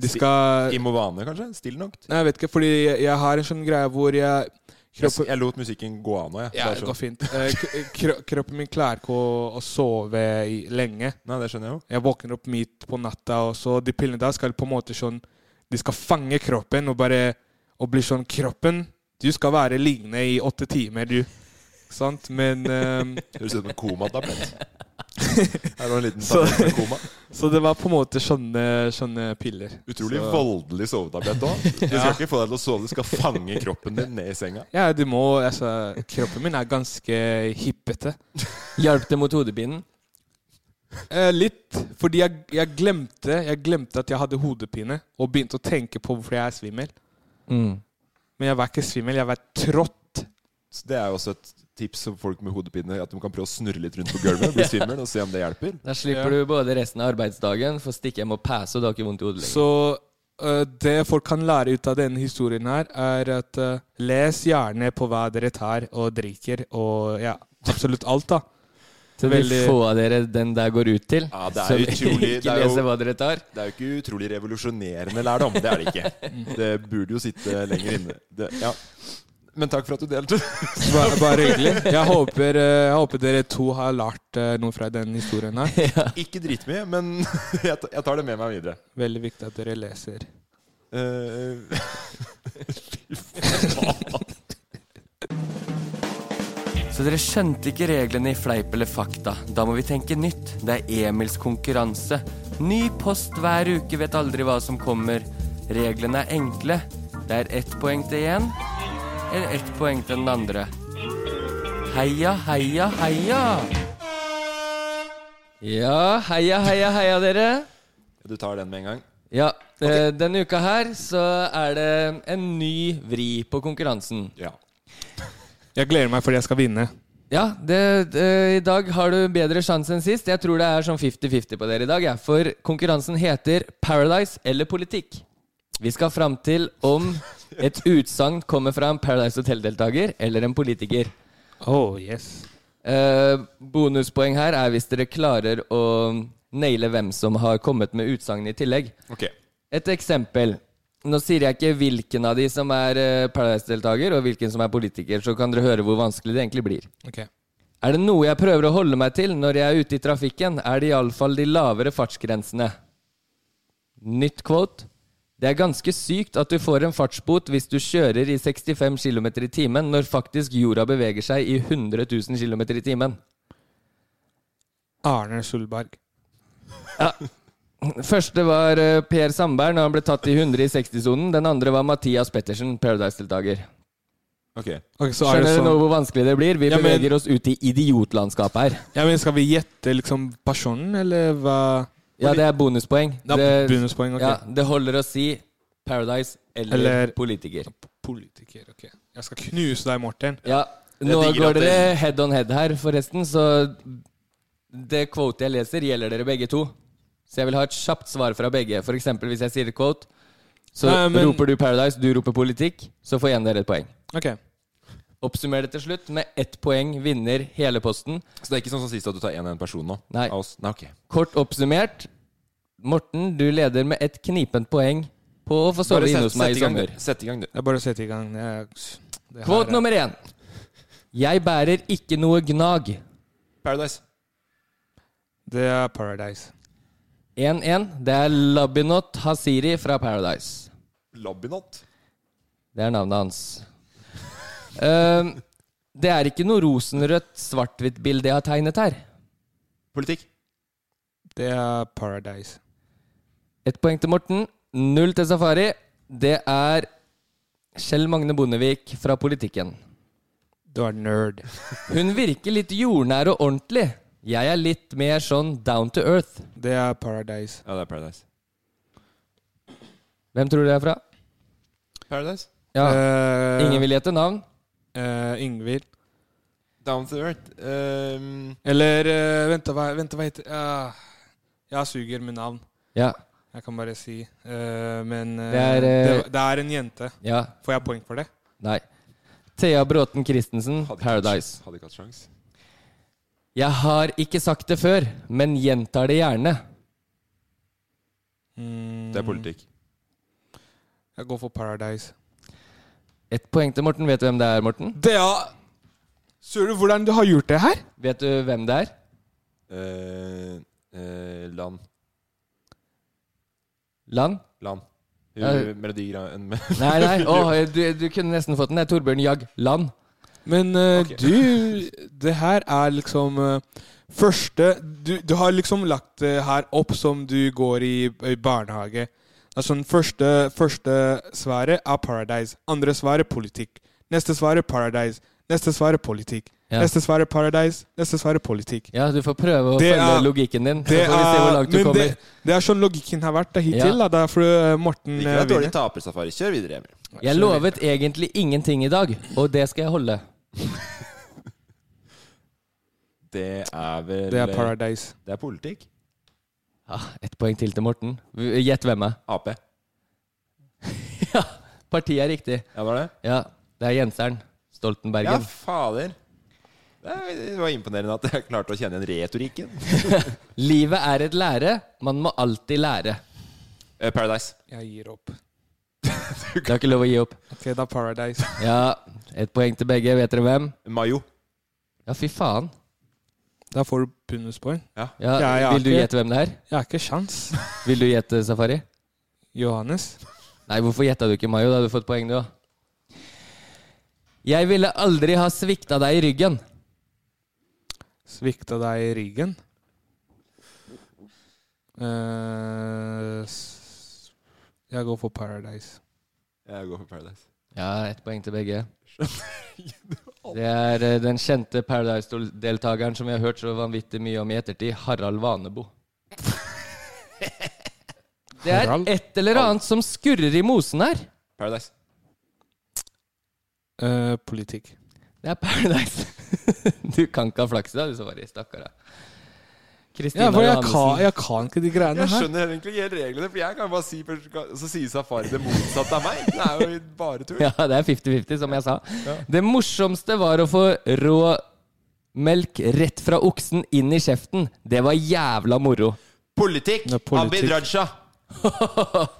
[SPEAKER 2] De skal
[SPEAKER 3] Imovane, kanskje? Still nok?
[SPEAKER 2] Nei, jeg vet ikke, fordi jeg, jeg har en sånn greie hvor jeg
[SPEAKER 3] Jeg, jeg lot musikken gå av nå, jeg.
[SPEAKER 2] Ja,
[SPEAKER 3] er
[SPEAKER 2] det
[SPEAKER 3] sånn-
[SPEAKER 2] går fint. Eh, k- kro kroppen min klarer ikke å, å sove i, lenge.
[SPEAKER 3] Nei, det skjønner jeg jo.
[SPEAKER 2] Jeg våkner opp midt på natta, og så de pillene der skal på en måte sånn De skal fange kroppen og bare Og bli sånn Kroppen, du skal være liggende i åtte timer, du. Sant? Men ehm,
[SPEAKER 3] Høres ut som en komatablett. Her var en liten tablett med koma.
[SPEAKER 2] Så det var på en måte sånne, sånne piller.
[SPEAKER 3] Utrolig
[SPEAKER 2] så,
[SPEAKER 3] voldelig sovetablett òg. Det skal
[SPEAKER 2] Ja.
[SPEAKER 3] ikke få deg til å sove, det skal fange kroppen din ned i senga.
[SPEAKER 2] Ja, du må Altså, kroppen min er ganske hippete.
[SPEAKER 4] Hjalp det mot hodepinen?
[SPEAKER 2] Eh, litt. Fordi jeg, jeg glemte Jeg glemte at jeg hadde hodepine, og begynte å tenke på hvorfor jeg er svimmel.
[SPEAKER 4] Mm.
[SPEAKER 2] Men jeg var ikke svimmel, jeg var trått.
[SPEAKER 3] Så det er jo også et tips for folk med hodepine, at de kan prøve å snurre litt rundt på gulvet, bli svimmel, og se om det hjelper.
[SPEAKER 4] Da slipper du både resten av arbeidsdagen, får stikke hjem og passe, og du har ikke vondt i hodet lenger.
[SPEAKER 2] Så eh, det folk kan lære ut av denne historien her, er at eh, les gjerne på hva dere tar og drikker, og ja, absolutt alt, da.
[SPEAKER 4] Så de
[SPEAKER 2] Veldig-
[SPEAKER 4] få av dere den der går ut til,
[SPEAKER 3] Ja, det
[SPEAKER 4] som
[SPEAKER 3] er utrolig
[SPEAKER 4] ikke leser hva dere tar.
[SPEAKER 3] Det er jo ikke utrolig revolusjonerende lærdom, det er det ikke. Det burde jo sitte lenger inne. Det, ja. Men takk for at du delte.
[SPEAKER 2] Bare, bare hyggelig. Jeg håper, eh, jeg håper dere to har lært eh, noe fra den historien her.
[SPEAKER 3] Ikke dritmye, men jeg ta- jeg tar det med meg videre.
[SPEAKER 2] Veldig viktig at dere leser.
[SPEAKER 3] Eh,
[SPEAKER 8] Så dere skjønte ikke reglene i Fleip eller fakta. Da må vi tenke nytt. Det er Emils konkurranse. Ny post hver uke, vet aldri hva som kommer. Reglene er enkle. Det er ett poeng til én, eller ett poeng til den andre. Heia, heia, heia!
[SPEAKER 4] Ja, heia, heia, heia, dere.
[SPEAKER 3] du tar den med en gang.
[SPEAKER 4] Ja, eh, Denne uka her så er det en ny vri på konkurransen.
[SPEAKER 3] Ja.
[SPEAKER 2] Jeg gleder meg fordi jeg skal vinne.
[SPEAKER 4] Ja, det, det, I dag har du bedre sjanse enn sist. Jeg tror det er sånn 50-50 på dere i dag. Ja. For konkurransen heter Paradise eller politikk. Vi skal fram til om et utsagn kommer fra en Paradise Hotel-deltaker eller en politiker. Eh,
[SPEAKER 2] Oh, yes
[SPEAKER 4] Bonuspoeng her er hvis dere klarer å naile hvem som har kommet med utsagn i tillegg.
[SPEAKER 3] Ok.
[SPEAKER 4] Et eksempel. Nå sier jeg ikke hvilken av de som er eh, Paradise-deltaker, og hvilken som er politiker, så kan dere høre hvor vanskelig det egentlig blir.
[SPEAKER 2] Ok.
[SPEAKER 4] Er det noe jeg prøver å holde meg til når jeg er ute i trafikken, er det iallfall de lavere fartsgrensene. Nytt quote. Det er ganske sykt at du får en fartsbot hvis du kjører i 65 km i timen når faktisk jorda beveger seg i 100 000 km i timen.
[SPEAKER 2] Arne Solberg.
[SPEAKER 4] Ja. Første var eh, Per Sandberg når han ble tatt i 100 i 60-sonen. Den andre var Mathias Pettersen, Paradise-deltaker.
[SPEAKER 3] Ok.
[SPEAKER 2] så er det
[SPEAKER 4] Skjønner
[SPEAKER 2] sånn-
[SPEAKER 4] du nå hvor vanskelig det blir? Vi
[SPEAKER 2] Ja, men-
[SPEAKER 4] beveger oss ut i idiotlandskapet her.
[SPEAKER 2] Ja, men Skal vi gjette liksom personen, eller hva
[SPEAKER 4] Ja, det er bonuspoeng.
[SPEAKER 2] Ja, bonuspoeng, ok.
[SPEAKER 4] ja, det holder å si Paradise eller,
[SPEAKER 2] Eller-
[SPEAKER 4] politiker.
[SPEAKER 2] Politiker, ok. Jeg skal knuse deg, Morten.
[SPEAKER 4] Ja, Nå går dere head on head her, forresten, så det quotet jeg leser, gjelder dere begge to. Så jeg vil ha et kjapt svar fra begge. For eksempel hvis jeg sier et quote, så
[SPEAKER 2] Nei, men-
[SPEAKER 4] roper du Paradise, du roper politikk, så får en dere et poeng.
[SPEAKER 2] Ok.
[SPEAKER 4] Oppsummer det til slutt med ett poeng, vinner hele posten.
[SPEAKER 3] Så det er ikke sånn som sist at du tar én og én person nå?
[SPEAKER 4] Nei.
[SPEAKER 3] Av oss? Nei, ok.
[SPEAKER 4] Kort oppsummert, Morten, du leder med et knipent poeng på å få
[SPEAKER 3] Bare
[SPEAKER 4] sove
[SPEAKER 3] set-
[SPEAKER 4] inne hos meg
[SPEAKER 3] sett i
[SPEAKER 4] i
[SPEAKER 3] gang,
[SPEAKER 4] sommer.
[SPEAKER 3] du. Sett i gang, du.
[SPEAKER 2] Det er bare å sette i gang. Jeg, eh, det her
[SPEAKER 4] Kvote
[SPEAKER 2] er-
[SPEAKER 4] nummer én. Jeg bærer ikke noe gnag.
[SPEAKER 3] Paradise.
[SPEAKER 2] Det er Paradise.
[SPEAKER 4] 1-1. Det er Labinot Hasiri fra Paradise.
[SPEAKER 3] Labinot.
[SPEAKER 4] Det er navnet hans. Ehm, det er ikke noe rosenrødt svart-hvitt-bilde jeg har tegnet her.
[SPEAKER 3] Politikk.
[SPEAKER 2] Det er Paradise.
[SPEAKER 4] Ett poeng til Morten. Null til Safari. Det er Kjell Magne Bondevik fra Politikken.
[SPEAKER 2] Du er nerd.
[SPEAKER 4] Hun virker litt jordnær og ordentlig. Jeg er litt mer sånn down to earth.
[SPEAKER 2] Det er Paradise.
[SPEAKER 3] Ja, det er Paradise.
[SPEAKER 4] Hvem tror du det er fra?
[SPEAKER 3] Paradise.
[SPEAKER 4] Ja.
[SPEAKER 2] Eh,
[SPEAKER 4] Ingen vil gjette navn?
[SPEAKER 2] Eh, Ingvild.
[SPEAKER 3] Down to earth. Ehm,
[SPEAKER 2] Eller eh, vent, da, hva, vent, da, hva heter ah, Jeg suger med navn.
[SPEAKER 4] Ja.
[SPEAKER 2] Jeg kan bare si eh, Men eh,
[SPEAKER 4] Det er, eh,
[SPEAKER 2] det, det er en jente.
[SPEAKER 4] Ja.
[SPEAKER 2] Får jeg poeng for det?
[SPEAKER 4] Nei. Thea Bråten Christensen, Paradise.
[SPEAKER 3] hadde ikke hatt sjans.
[SPEAKER 4] Jeg har ikke sagt det før, men gjentar det gjerne.
[SPEAKER 3] Det er politikk.
[SPEAKER 2] Jeg går for Paradise.
[SPEAKER 4] Ett poeng til Morten. Vet du hvem det er, Morten?
[SPEAKER 2] Thea! Ser du hvordan du har gjort det her?
[SPEAKER 4] Vet du hvem det er?
[SPEAKER 3] Eh, eh, land.
[SPEAKER 4] Land?
[SPEAKER 3] Land. Hun,
[SPEAKER 4] Ja.
[SPEAKER 3] Melodi Grand
[SPEAKER 4] Nei, nei. Åh, du, du kunne nesten fått den. Det er Torbjørn Jagg Land.
[SPEAKER 2] Men eh, du Det her er liksom eh, første du, du har liksom lagt det her opp som du går i, i barnehage. Altså den første, første svaret er Paradise. Andre svaret er politikk. Neste svar er Paradise. Neste svar er politikk.
[SPEAKER 4] Ja.
[SPEAKER 2] Neste svar er Paradise. Neste svar er politikk.
[SPEAKER 4] Ja, du får prøve å
[SPEAKER 2] Det
[SPEAKER 4] følge
[SPEAKER 2] er-
[SPEAKER 4] logikken din. Så
[SPEAKER 2] Det
[SPEAKER 4] får vi se hvor
[SPEAKER 2] er,
[SPEAKER 4] langt du
[SPEAKER 2] men det,
[SPEAKER 4] kommer.
[SPEAKER 2] det er sånn logikken har vært da hittil.
[SPEAKER 4] Ja.
[SPEAKER 2] Da, derfor eh, Morten
[SPEAKER 3] Ikke
[SPEAKER 2] eh,
[SPEAKER 3] vær dårlig
[SPEAKER 2] vinner.
[SPEAKER 3] tapersafari. Kjør videre, Emil.
[SPEAKER 4] Jeg lovet egentlig ingenting i dag, og det skal jeg holde.
[SPEAKER 3] Det er vel
[SPEAKER 2] Det er Paradise.
[SPEAKER 3] Det er politikk.
[SPEAKER 4] Ah, Ett poeng til til Morten. Gjett hvem er.
[SPEAKER 3] Ap.
[SPEAKER 4] Ja, partiet er riktig.
[SPEAKER 3] Ja, var det?
[SPEAKER 4] Ja, det er Jenseren. Stoltenbergen.
[SPEAKER 3] Ja, fader. Det er- det var imponerende at jeg klarte å kjenne igjen retorikken.
[SPEAKER 4] Livet er et lære. Man må alltid lære.
[SPEAKER 3] Eh, Paradise.
[SPEAKER 2] Jeg gir opp.
[SPEAKER 4] Det er ikke lov å gi opp.
[SPEAKER 2] Ok, det er Paradise.
[SPEAKER 4] Ja, Ett poeng til begge. Vet dere hvem?
[SPEAKER 3] Mayo.
[SPEAKER 4] Ja, fy faen.
[SPEAKER 2] Da får du bonuspoeng.
[SPEAKER 3] Ja.
[SPEAKER 4] Ja,
[SPEAKER 2] Jeg- jeg har
[SPEAKER 4] vil du
[SPEAKER 2] ikke-
[SPEAKER 4] gjette hvem det er?
[SPEAKER 2] Jeg har ikke sjans.
[SPEAKER 4] Vil du gjette Safari?
[SPEAKER 2] Johannes.
[SPEAKER 4] Nei, hvorfor gjetta du ikke Mayo? Da hadde du fått poeng, du, da. Jeg ville aldri ha svikta deg i ryggen.
[SPEAKER 2] Svikta deg i ryggen. Eh, s- jeg går for Paradise.
[SPEAKER 3] Jeg går for Paradise.
[SPEAKER 4] Ja, ett poeng til begge. Det er eh, den kjente Paradise-deltakeren som vi har hørt så vanvittig mye om i ettertid, Harald Vanebo. Det er
[SPEAKER 2] Harald?
[SPEAKER 4] et eller annet som skurrer i mosen her.
[SPEAKER 3] Paradise.
[SPEAKER 2] Eh, politikk.
[SPEAKER 4] Det er Paradise. Du kan ikke ha flaks i dag, du som var i stakkara. Kristina
[SPEAKER 2] Ja, for jeg
[SPEAKER 4] Johannessen.
[SPEAKER 2] kan, jeg kan ikke de greiene
[SPEAKER 3] Jeg
[SPEAKER 2] her.
[SPEAKER 3] skjønner egentlig ikke helt reglene, for jeg kan bare si Så sier Safari det motsatte av meg. Det er jo bare tull.
[SPEAKER 4] Ja, det er 50-50, som jeg sa.
[SPEAKER 3] Ja.
[SPEAKER 4] Det morsomste var å få rå melk rett fra oksen inn i kjeften. Det var jævla moro.
[SPEAKER 3] Politikk!
[SPEAKER 4] Det er politikk.
[SPEAKER 3] Abid Raja.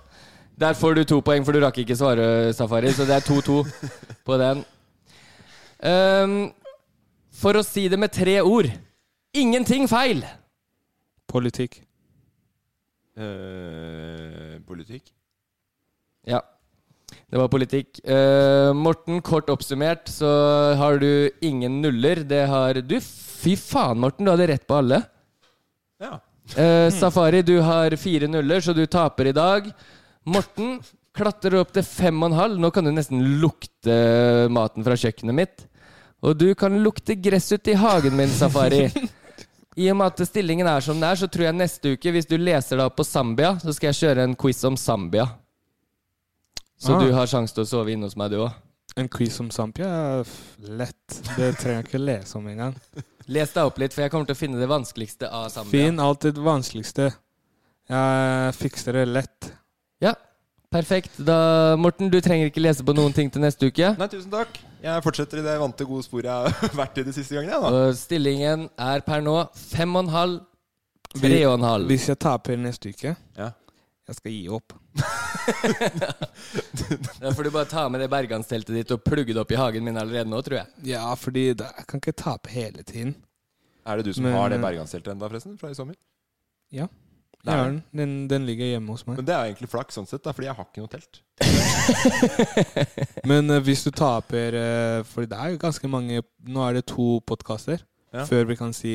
[SPEAKER 4] Der får du to poeng, for du rakk ikke svare, Safari. Så det er 2-2 på den. Ehm, for å si det med tre ord ingenting feil!
[SPEAKER 2] Politikk.
[SPEAKER 3] Eh, politikk?
[SPEAKER 4] Ja. Det var politikk. Eh, Morten, kort oppsummert så har du ingen nuller. Det har du. Fy faen, Morten, du hadde rett på alle.
[SPEAKER 3] Ja.
[SPEAKER 4] Eh, Safari, du har fire nuller, så du taper i dag. Morten klatrer opp til fem og en halv. Nå kan du nesten lukte maten fra kjøkkenet mitt. Og du kan lukte gress ute i hagen min, Safari. I og med at stillingen er som den er, så tror jeg neste uke, hvis du leser deg opp på Zambia, så skal jeg kjøre en quiz om Zambia. Så
[SPEAKER 2] Ah.
[SPEAKER 4] du har sjanse til å sove inne hos meg, du òg.
[SPEAKER 2] En quiz om Zampia er f- lett. Det trenger jeg ikke lese om engang.
[SPEAKER 4] Les deg opp litt, for jeg kommer til å finne det vanskeligste av Zambia.
[SPEAKER 2] Finn alltid det vanskeligste. Jeg fikser det lett.
[SPEAKER 4] Ja, perfekt. Da, Morten, du trenger ikke lese på noen ting til neste uke.
[SPEAKER 3] Nei, tusen takk. Jeg fortsetter i det vante, gode sporet jeg har vært i de siste gangene.
[SPEAKER 2] Ah.
[SPEAKER 3] jeg,
[SPEAKER 4] Og stillingen er per nå fem og en halv, tre og en halv.
[SPEAKER 2] Hvis jeg taper neste uke,
[SPEAKER 3] Ja.
[SPEAKER 2] jeg skal gi opp.
[SPEAKER 4] Da får du bare ta med det bergansteltet ditt og plugge det opp i hagen min allerede nå, tror jeg.
[SPEAKER 2] Ja, fordi det, jeg kan ikke tape hele tiden.
[SPEAKER 3] Da. Er det du som
[SPEAKER 2] Men-
[SPEAKER 3] har det bergansteltet ennå, forresten? Fra i sommer?
[SPEAKER 2] Ja.
[SPEAKER 3] Det
[SPEAKER 2] Jeg
[SPEAKER 3] er
[SPEAKER 2] har den. den. Den ligger hjemme hos meg.
[SPEAKER 3] Men det er jo egentlig flaks, sånn sett, da, fordi jeg har ikke noe telt.
[SPEAKER 2] Men eh, hvis du taper eh, For det er jo ganske mange Nå er det to podkaster.
[SPEAKER 3] Ja.
[SPEAKER 2] Før vi kan si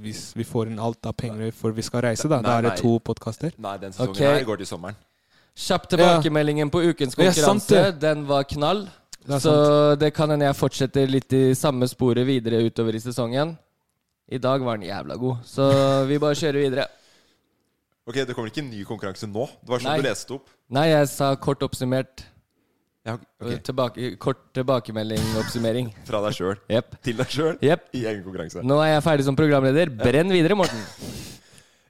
[SPEAKER 2] hvis vi får inn alt av penger for vi skal reise, da. Da
[SPEAKER 3] Nei,
[SPEAKER 2] er det
[SPEAKER 3] nei.
[SPEAKER 2] to podkaster.
[SPEAKER 3] Nei, den sesongen
[SPEAKER 4] Ok.
[SPEAKER 3] her går til sommeren.
[SPEAKER 4] Kjapp tilbakemeldingen på ukens
[SPEAKER 2] Det er sant,
[SPEAKER 4] konkurranse. Den var knall.
[SPEAKER 2] Det er
[SPEAKER 4] Så det kan hende jeg fortsetter litt i samme sporet videre utover i sesongen. I dag var den jævla god, så vi bare kjører videre.
[SPEAKER 3] Ok, Det kommer ikke en ny konkurranse nå? Det var sånn
[SPEAKER 4] Nei.
[SPEAKER 3] du leste opp.
[SPEAKER 4] Nei, jeg sa kort oppsummert.
[SPEAKER 3] Ja, ok.
[SPEAKER 4] Eh, Tilbake, kort tilbakemelding-oppsummering.
[SPEAKER 3] Eh, Fra deg sjøl
[SPEAKER 4] Jepp.
[SPEAKER 3] til deg sjøl
[SPEAKER 4] Jepp.
[SPEAKER 3] i egen konkurranse.
[SPEAKER 4] Nå er jeg ferdig som programleder. Brenn videre, Morten.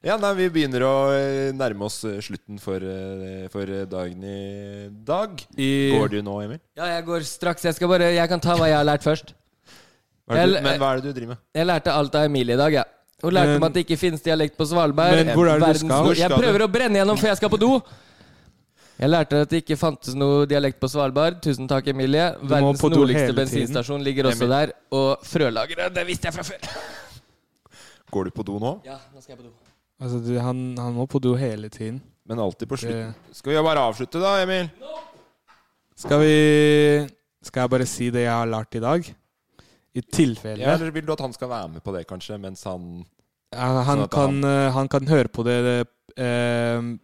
[SPEAKER 3] Ja, nei, Vi begynner å eh, nærme oss eh, slutten for, eh, for eh, dagen i dag. Går du nå, Emil?
[SPEAKER 4] Ja, jeg går straks. Jeg skal bare Jeg kan ta hva jeg har lært først.
[SPEAKER 3] Hva er det
[SPEAKER 4] Jeg-
[SPEAKER 3] du, men hva er det du driver med?
[SPEAKER 4] Jeg lærte alt av Emilie i dag, jeg. Hun lærte
[SPEAKER 2] Men-
[SPEAKER 4] meg at det ikke finnes dialekt på Svalbard.
[SPEAKER 2] Men hvor er det du skal?
[SPEAKER 4] Verdens-
[SPEAKER 2] Hvor skal
[SPEAKER 4] Jeg prøver
[SPEAKER 2] du?
[SPEAKER 4] å brenne gjennom før jeg skal på do. Jeg lærte at det ikke fantes noe dialekt på Svalbard. Tusen takk, Emilie.
[SPEAKER 2] må
[SPEAKER 4] Verdens
[SPEAKER 2] på do
[SPEAKER 4] nordligste
[SPEAKER 2] hele tiden.
[SPEAKER 4] bensinstasjon ligger også
[SPEAKER 3] Emil.
[SPEAKER 4] der. Og frølageret. Det visste jeg fra før.
[SPEAKER 3] Går du på do nå?
[SPEAKER 4] Ja, nå skal jeg på do.
[SPEAKER 2] Altså, du, han, han må på do hele tiden.
[SPEAKER 3] Men alltid på slutten.
[SPEAKER 2] Det-
[SPEAKER 3] Skal vi bare avslutte, da, Emil?
[SPEAKER 2] Skal vi Skal jeg bare si det jeg har lært i dag? I tilfelle
[SPEAKER 3] Ja, eller vil du at han skal være med på det, kanskje, mens han
[SPEAKER 2] han, han,
[SPEAKER 3] sånn at
[SPEAKER 2] kan, eh, han kan høre på det eh, en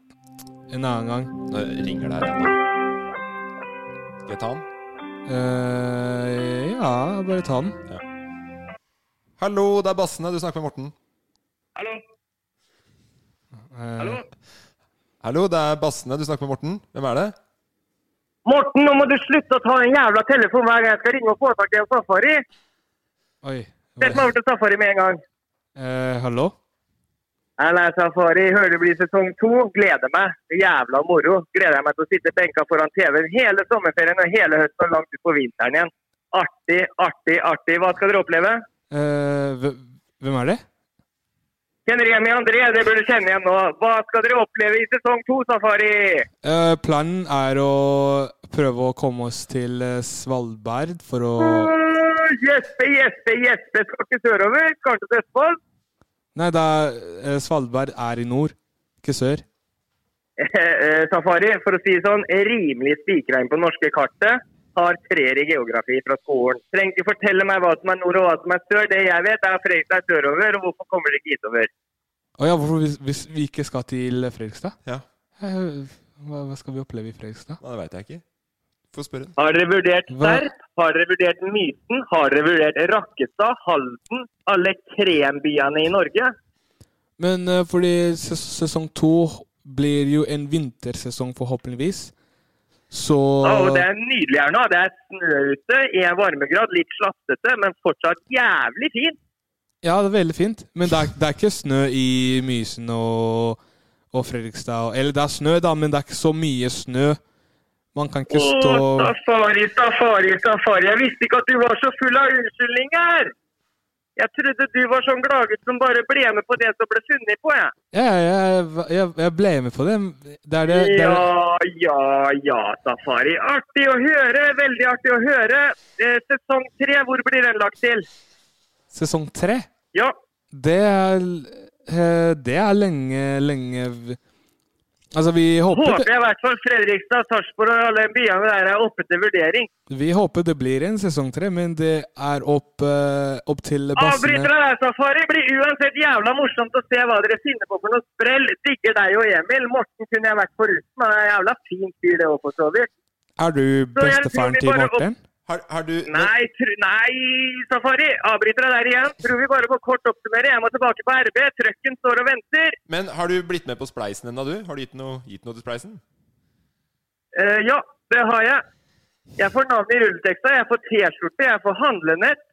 [SPEAKER 2] annen gang.
[SPEAKER 3] Nå eh, ringer det her ennå. Skal jeg ta han?
[SPEAKER 2] Eh, ja, bare ta den.
[SPEAKER 3] Hallo, det er Bassene. Du snakker med Morten.
[SPEAKER 2] Eh,
[SPEAKER 3] Hallo, det er Bassene. Du snakker med Morten. Hvem er det?
[SPEAKER 9] Morten, nå må du slutte å ta den jævla telefonen hver gang jeg skal ringe og få tak i en safari.
[SPEAKER 2] Oi.
[SPEAKER 9] Det som over til safari med en gang.
[SPEAKER 2] Eh, hallo?
[SPEAKER 9] Nei, nei, safari. Hører det blir sesong to. Gleder meg. Det er Jævla moro. Gleder jeg meg til å sitte benka foran TV-en hele sommerferien og hele høsten og langt ut på vinteren igjen. Artig, artig, artig. Hva skal dere oppleve?
[SPEAKER 2] Eh, hve- hvem er det?
[SPEAKER 9] Kjenner igjen i André, det burde du kjenne igjen nå. Hva skal dere oppleve i sesong to, Safari?
[SPEAKER 2] Eh, planen er å prøve å komme oss til eh, Svalbard for å
[SPEAKER 9] Øh, Gjespe, gjespe, gjespe. Skal ikke sørover, kanskje til Østfold?
[SPEAKER 2] Nei, da eh, Svalbard er i nord, ikke sør.
[SPEAKER 9] Eh, Safari, for å si det sånn, er rimelig spikrein på norske kartet. Har treer i geografi fra skolen. Trenger ikke fortelle meg hva som er nord og hva som er sør. Det jeg vet, er at Fredrikstad er sørover, og hvorfor kommer dere ikke hitover?
[SPEAKER 2] Å ja, hvorfor hvis, hvis vi ikke skal til Fredrikstad?
[SPEAKER 3] Ja.
[SPEAKER 2] Hva, hva skal vi oppleve i Fredrikstad?
[SPEAKER 3] Det veit jeg ikke. Få spørre.
[SPEAKER 9] Har dere vurdert Serp? Har dere vurdert Mysen? Har dere vurdert Rakkestad? Halden? Alle krembyene i Norge?
[SPEAKER 2] Men eh, fordi ses sesong to blir jo en vintersesong, forhåpentligvis, så
[SPEAKER 9] Å, det er nydelig her nå. Det er snø ute, i en varmegrad, litt slappete, men fortsatt jævlig fint.
[SPEAKER 2] Ja, det er veldig fint. Men det er, det er ikke snø i Mysen og, og Fredrikstad. og- Eller det er snø, da, men det er ikke så mye snø. Man kan ikke
[SPEAKER 9] Å,
[SPEAKER 2] stå
[SPEAKER 9] Safari, Safari, Safari. Jeg visste ikke at du var så full av unnskyldninger! Jeg trodde du var sånn gladgutt som bare ble med på det som ble funnet på, jeg.
[SPEAKER 2] Ja, jeg, jeg, jeg ble med på det. Det er det, det, er det.
[SPEAKER 9] Ja, ja, ja, Safari. Artig å høre, veldig artig å høre. Eh, sesong tre, hvor blir den lagt til?
[SPEAKER 2] Sesong tre,
[SPEAKER 9] Ja,
[SPEAKER 2] det er, eh, det er lenge, lenge v- Altså, vi håper,
[SPEAKER 9] håper
[SPEAKER 2] det,
[SPEAKER 9] jeg i hvert fall Fredrikstad, Sarpsborg og alle byene der er oppe til vurdering.
[SPEAKER 2] vi håper det blir en sesong tre, men det er opp, eh, opp til
[SPEAKER 9] Avbryter
[SPEAKER 2] bassene.
[SPEAKER 9] deg der, Safari. Blir uansett jævla morsomt å se hva dere finner på for noe sprell. Digger deg og Emil. Morten kunne jeg vært foruten. Han er en jævla fin fyr, det òg, for så vidt.
[SPEAKER 2] Er
[SPEAKER 9] Så
[SPEAKER 2] du
[SPEAKER 9] jeg tror
[SPEAKER 2] bestefaren
[SPEAKER 9] vi
[SPEAKER 2] til
[SPEAKER 9] bare opp-
[SPEAKER 2] Morten?
[SPEAKER 9] Nei, tru, nei, Safari. Avbryter deg der igjen. Tror vi bare må kort oppsummere. Jeg må tilbake på RB. Trøkken står og venter.
[SPEAKER 3] Men har du blitt med på Spleisen ennå, du? Har du gitt noe, gitt noe til Spleisen?
[SPEAKER 9] Eh, ja, det har jeg. Jeg får navn i rulleteksta, jeg får T-skjorte, jeg får handlenett.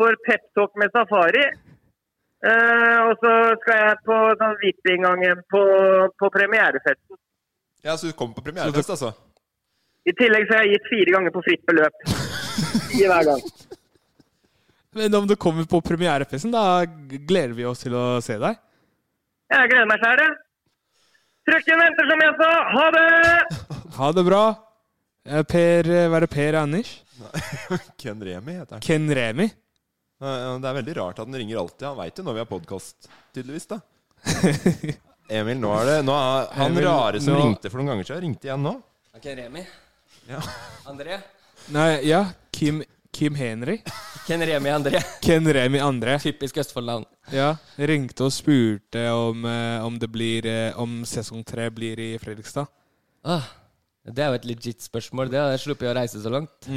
[SPEAKER 9] Får peptalk med safari. Eh, og så skal jeg på sånn VIP-inngangen på, på premierefesten.
[SPEAKER 3] Ja, så du kommer på premierefest, altså?
[SPEAKER 9] I tillegg så har jeg gitt fire ganger på fritt beløp. I hver gang.
[SPEAKER 2] Men om du kommer på premierefesten, da gleder vi oss til å se deg.
[SPEAKER 9] Jeg gleder meg sjæl, jeg. Trøkken venter, som jeg sa. Ha det!
[SPEAKER 2] Ha det bra. Eh, Per eh, Var det Per Anders?
[SPEAKER 3] Ken Remi heter han.
[SPEAKER 2] Ken Remi?
[SPEAKER 3] Ja, ja, Det er veldig rart at han ringer alltid. Han veit jo når vi har podkast, tydeligvis, da. Emil, nå er det nå er, Han
[SPEAKER 2] Emil,
[SPEAKER 3] rare som
[SPEAKER 2] nå-
[SPEAKER 3] ringte for noen ganger siden, ringte igjen nå.
[SPEAKER 8] Ok, Remi.
[SPEAKER 3] Ja.
[SPEAKER 8] André.
[SPEAKER 2] Nei, ja. Kim, Kim Henry.
[SPEAKER 8] Ken Remi André.
[SPEAKER 2] Ken Remi André.
[SPEAKER 8] Typisk Østfold-navn.
[SPEAKER 2] Ja, ringte og spurte om, eh, om, det blir, eh, om sesong tre blir i Fredrikstad.
[SPEAKER 8] Ah, det er jo et legit spørsmål. Det hadde jeg sluppet å reise så langt.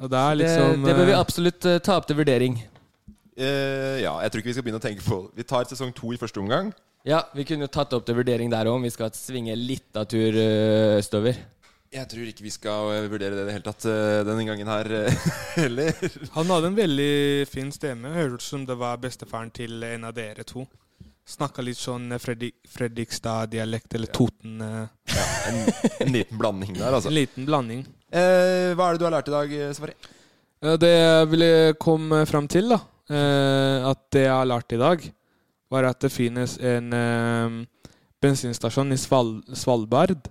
[SPEAKER 2] Og det er liksom
[SPEAKER 8] det, det bør vi
[SPEAKER 2] eh,
[SPEAKER 8] absolutt eh, ta opp til vurdering.
[SPEAKER 3] Eh, ja, jeg tror ikke vi skal begynne å tenke på Vi tar sesong to i første omgang.
[SPEAKER 8] Ja, vi kunne jo tatt opp til vurdering der òg, om vi skal svinge litt av tur eh, østover.
[SPEAKER 3] Jeg tror ikke vi skal eh, vurdere det i det hele tatt eh, denne gangen her eh, heller.
[SPEAKER 2] Han hadde en veldig fin stemme. Hørtes ut som det var bestefaren til en av dere to. Snakka litt sånn eh, Fredri Fredrikstad-dialekt, eller Toten eh.
[SPEAKER 3] En, en liten blanding der, altså.
[SPEAKER 2] En liten blanding.
[SPEAKER 3] Eh, hva er det du har lært i dag, eh, Safari?
[SPEAKER 2] Ja, Det jeg ville komme fram til, da, eh, at det jeg har lært i dag, var at det finnes en eh, bensinstasjon i Sval Svalbard.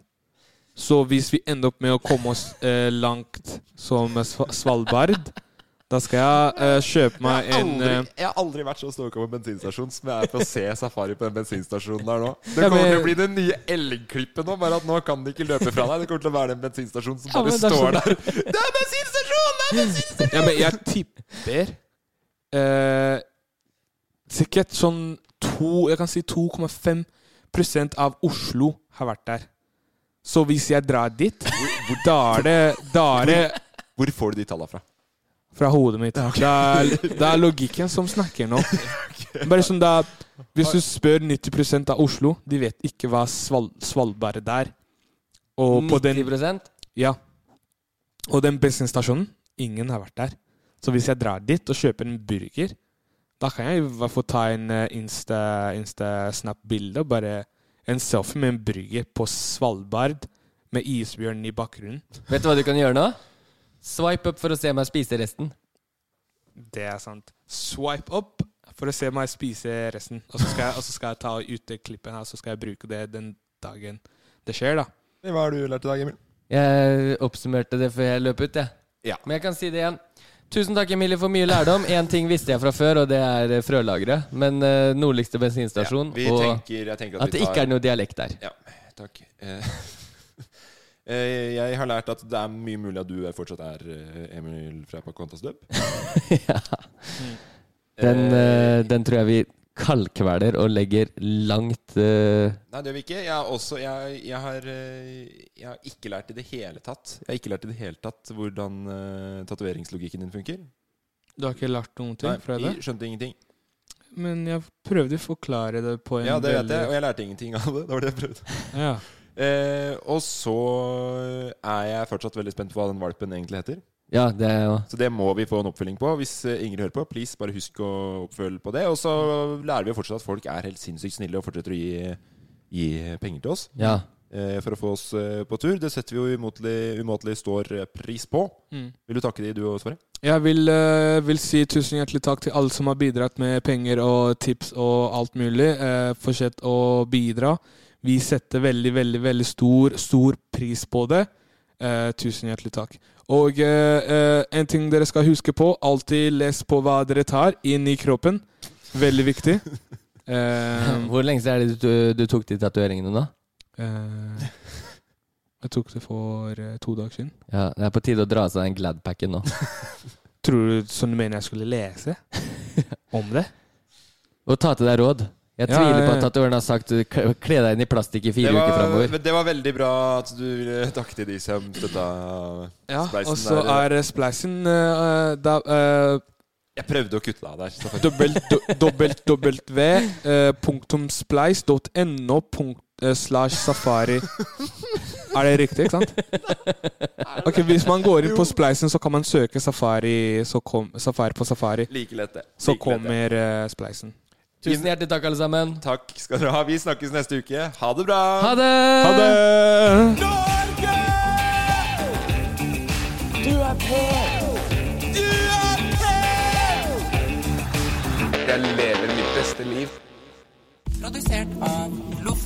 [SPEAKER 2] Så hvis vi ender opp med å komme oss eh, langt som Sva- Svalbard, da skal jeg eh, kjøpe meg en
[SPEAKER 3] Aldri,
[SPEAKER 2] eh,
[SPEAKER 3] jeg har aldri vært så stoka på en bensinstasjon som jeg er på å se Safari på den bensinstasjonen der nå. Det
[SPEAKER 2] Ja,
[SPEAKER 3] kommer
[SPEAKER 2] men-
[SPEAKER 3] til å bli det nye elgklippet nå, bare at nå kan de ikke løpe fra deg. Det kommer til å være den bensinstasjonen som
[SPEAKER 2] Ja,
[SPEAKER 3] bare
[SPEAKER 2] men det er sånn-
[SPEAKER 3] står
[SPEAKER 2] så-
[SPEAKER 3] der. Det er bensinstasjon! Det er bensinstasjon!
[SPEAKER 2] Ja, men jeg tipper eh, sikkert sånn to, jeg kan si 2,5 prosent av Oslo har vært der. Så hvis jeg drar dit, da er det, da er det
[SPEAKER 3] Hvor får du de tallene fra?
[SPEAKER 2] fra hodet mitt. Det, er, det er logikken som snakker nå. Bare som det er, Hvis du spør 90 av Oslo, de vet ikke hva Sval Svalbard er. Og på den,
[SPEAKER 8] 90%?
[SPEAKER 2] ja. Og den bensinstasjonen, ingen har vært der. Så hvis jeg drar dit og kjøper en burger, da kan jeg i hvert fall ta en eh, Insta- Insta-snap-bilde og bare en selfie med en burger på Svalbard med isbjørnen i bakgrunnen.
[SPEAKER 8] Vet du hva du kan gjøre nå? Swipe up for å se meg spise resten.
[SPEAKER 2] Det er sant. Swipe up. For å se meg spise resten. Og så skal jeg, og så skal jeg ta ut det klippet her, så skal jeg bruke det den dagen det skjer, da.
[SPEAKER 10] Hva har du lært i dag, Emil?
[SPEAKER 4] Jeg oppsummerte det før jeg løp ut, jeg.
[SPEAKER 3] Ja.
[SPEAKER 4] Men jeg kan si det igjen. Tusen takk, Emilie, for mye lærdom. Én ting visste jeg fra før, og det er eh, frølageret. Men eh, nordligste bensinstasjon,
[SPEAKER 3] Ja, vi
[SPEAKER 4] og
[SPEAKER 3] tenker- jeg tenker at vi
[SPEAKER 4] det
[SPEAKER 3] tar-
[SPEAKER 4] ikke er noe dialekt der.
[SPEAKER 3] Ja, takk. Eh, eh, Jeg har lært at det er mye mulig at du er- fortsatt er eh, Emil fra Pacontas døp. Mm.
[SPEAKER 4] Den, eh, den tror jeg vi kaldkveler og legger langt eh,
[SPEAKER 3] Nei, det gjør vi ikke. Jeg, har også, jeg, jeg, har, eh, jeg har ikke lært i det hele tatt Jeg har ikke lært i det hele tatt hvordan uh, tatoveringslogikken din funker.
[SPEAKER 2] Du har ikke lært noen ting
[SPEAKER 3] Nei,
[SPEAKER 2] fra det?
[SPEAKER 3] jeg skjønte ingenting.
[SPEAKER 2] Men jeg prøvde å forklare det på en
[SPEAKER 3] Ja, det vet
[SPEAKER 2] veldig-
[SPEAKER 3] jeg, og jeg lærte ingenting av det. Det var det jeg prøvde.
[SPEAKER 2] Ja.
[SPEAKER 3] Eh, og så eh, er jeg fortsatt veldig spent på hva den valpen egentlig heter.
[SPEAKER 4] Ja, det er jo
[SPEAKER 3] Så det må vi få en oppfølging på. Hvis eh, Ingrid hører på, please bare husk å oppfølge på det. Og så lærer vi jo fortsatt at folk er helt sinnssykt snille og fortsetter å gi, gi penger til oss.
[SPEAKER 4] Ja.
[SPEAKER 3] Eh, For å få oss eh, på tur. Det setter vi jo umåtelig, umåtelig stor eh, pris på.
[SPEAKER 2] Mm.
[SPEAKER 3] Vil du takke de, du og Sverre?
[SPEAKER 2] Jeg vil, eh, vil si tusen hjertelig takk til alle som har bidratt med penger og tips og alt mulig. Eh, Fortsett å bidra. Vi setter veldig, veldig, veldig stor, stor pris på det. Eh, Tusen hjertelig takk. Og eh, eh, en ting dere skal huske på, alltid les på hva dere tar inn i kroppen. Veldig viktig. Eh,
[SPEAKER 4] Hvor lenge siden er det du, du tok de tatoveringene, da?
[SPEAKER 2] eh, jeg tok det for eh, to dager siden.
[SPEAKER 4] Ja, Det er på tide å dra av seg den Gladpacken nå.
[SPEAKER 2] Tror du sånn du mener jeg skulle lese om det?
[SPEAKER 4] Og ta til deg råd. Jeg
[SPEAKER 2] Ja,
[SPEAKER 4] tviler på
[SPEAKER 2] ja,
[SPEAKER 4] at
[SPEAKER 2] ja.
[SPEAKER 4] tatoveren har sagt "K- kle deg inn i plastikk i fire
[SPEAKER 3] det, var,
[SPEAKER 4] uker framover.
[SPEAKER 3] det var veldig bra at du ville takke til de som støtta
[SPEAKER 2] Ja,
[SPEAKER 3] spleisen
[SPEAKER 2] og så
[SPEAKER 3] der.
[SPEAKER 2] er eh, spleisen eh, da, eh,
[SPEAKER 3] Jeg prøvde å kutte deg av der. så-
[SPEAKER 2] dobbelt, do- dobbelt, dobbelt v, eh, punktum splice dot no punkt, eh, slash safari. Er det riktig, ikke sant? Ok, Hvis man går inn på spleisen, så kan man søke safari, så kom, safari på safari.
[SPEAKER 3] Like lett det.
[SPEAKER 2] Så
[SPEAKER 3] Like lett
[SPEAKER 2] kommer eh, spleisen.
[SPEAKER 4] Tusen hjertelig takk, alle sammen.
[SPEAKER 3] Takk skal dere ha. Vi snakkes neste uke. Ha det bra.
[SPEAKER 4] Ha det!
[SPEAKER 2] Ha det!
[SPEAKER 1] Du er på! Du er på!
[SPEAKER 11] Jeg lever mitt beste liv.
[SPEAKER 1] Produsert av Loff.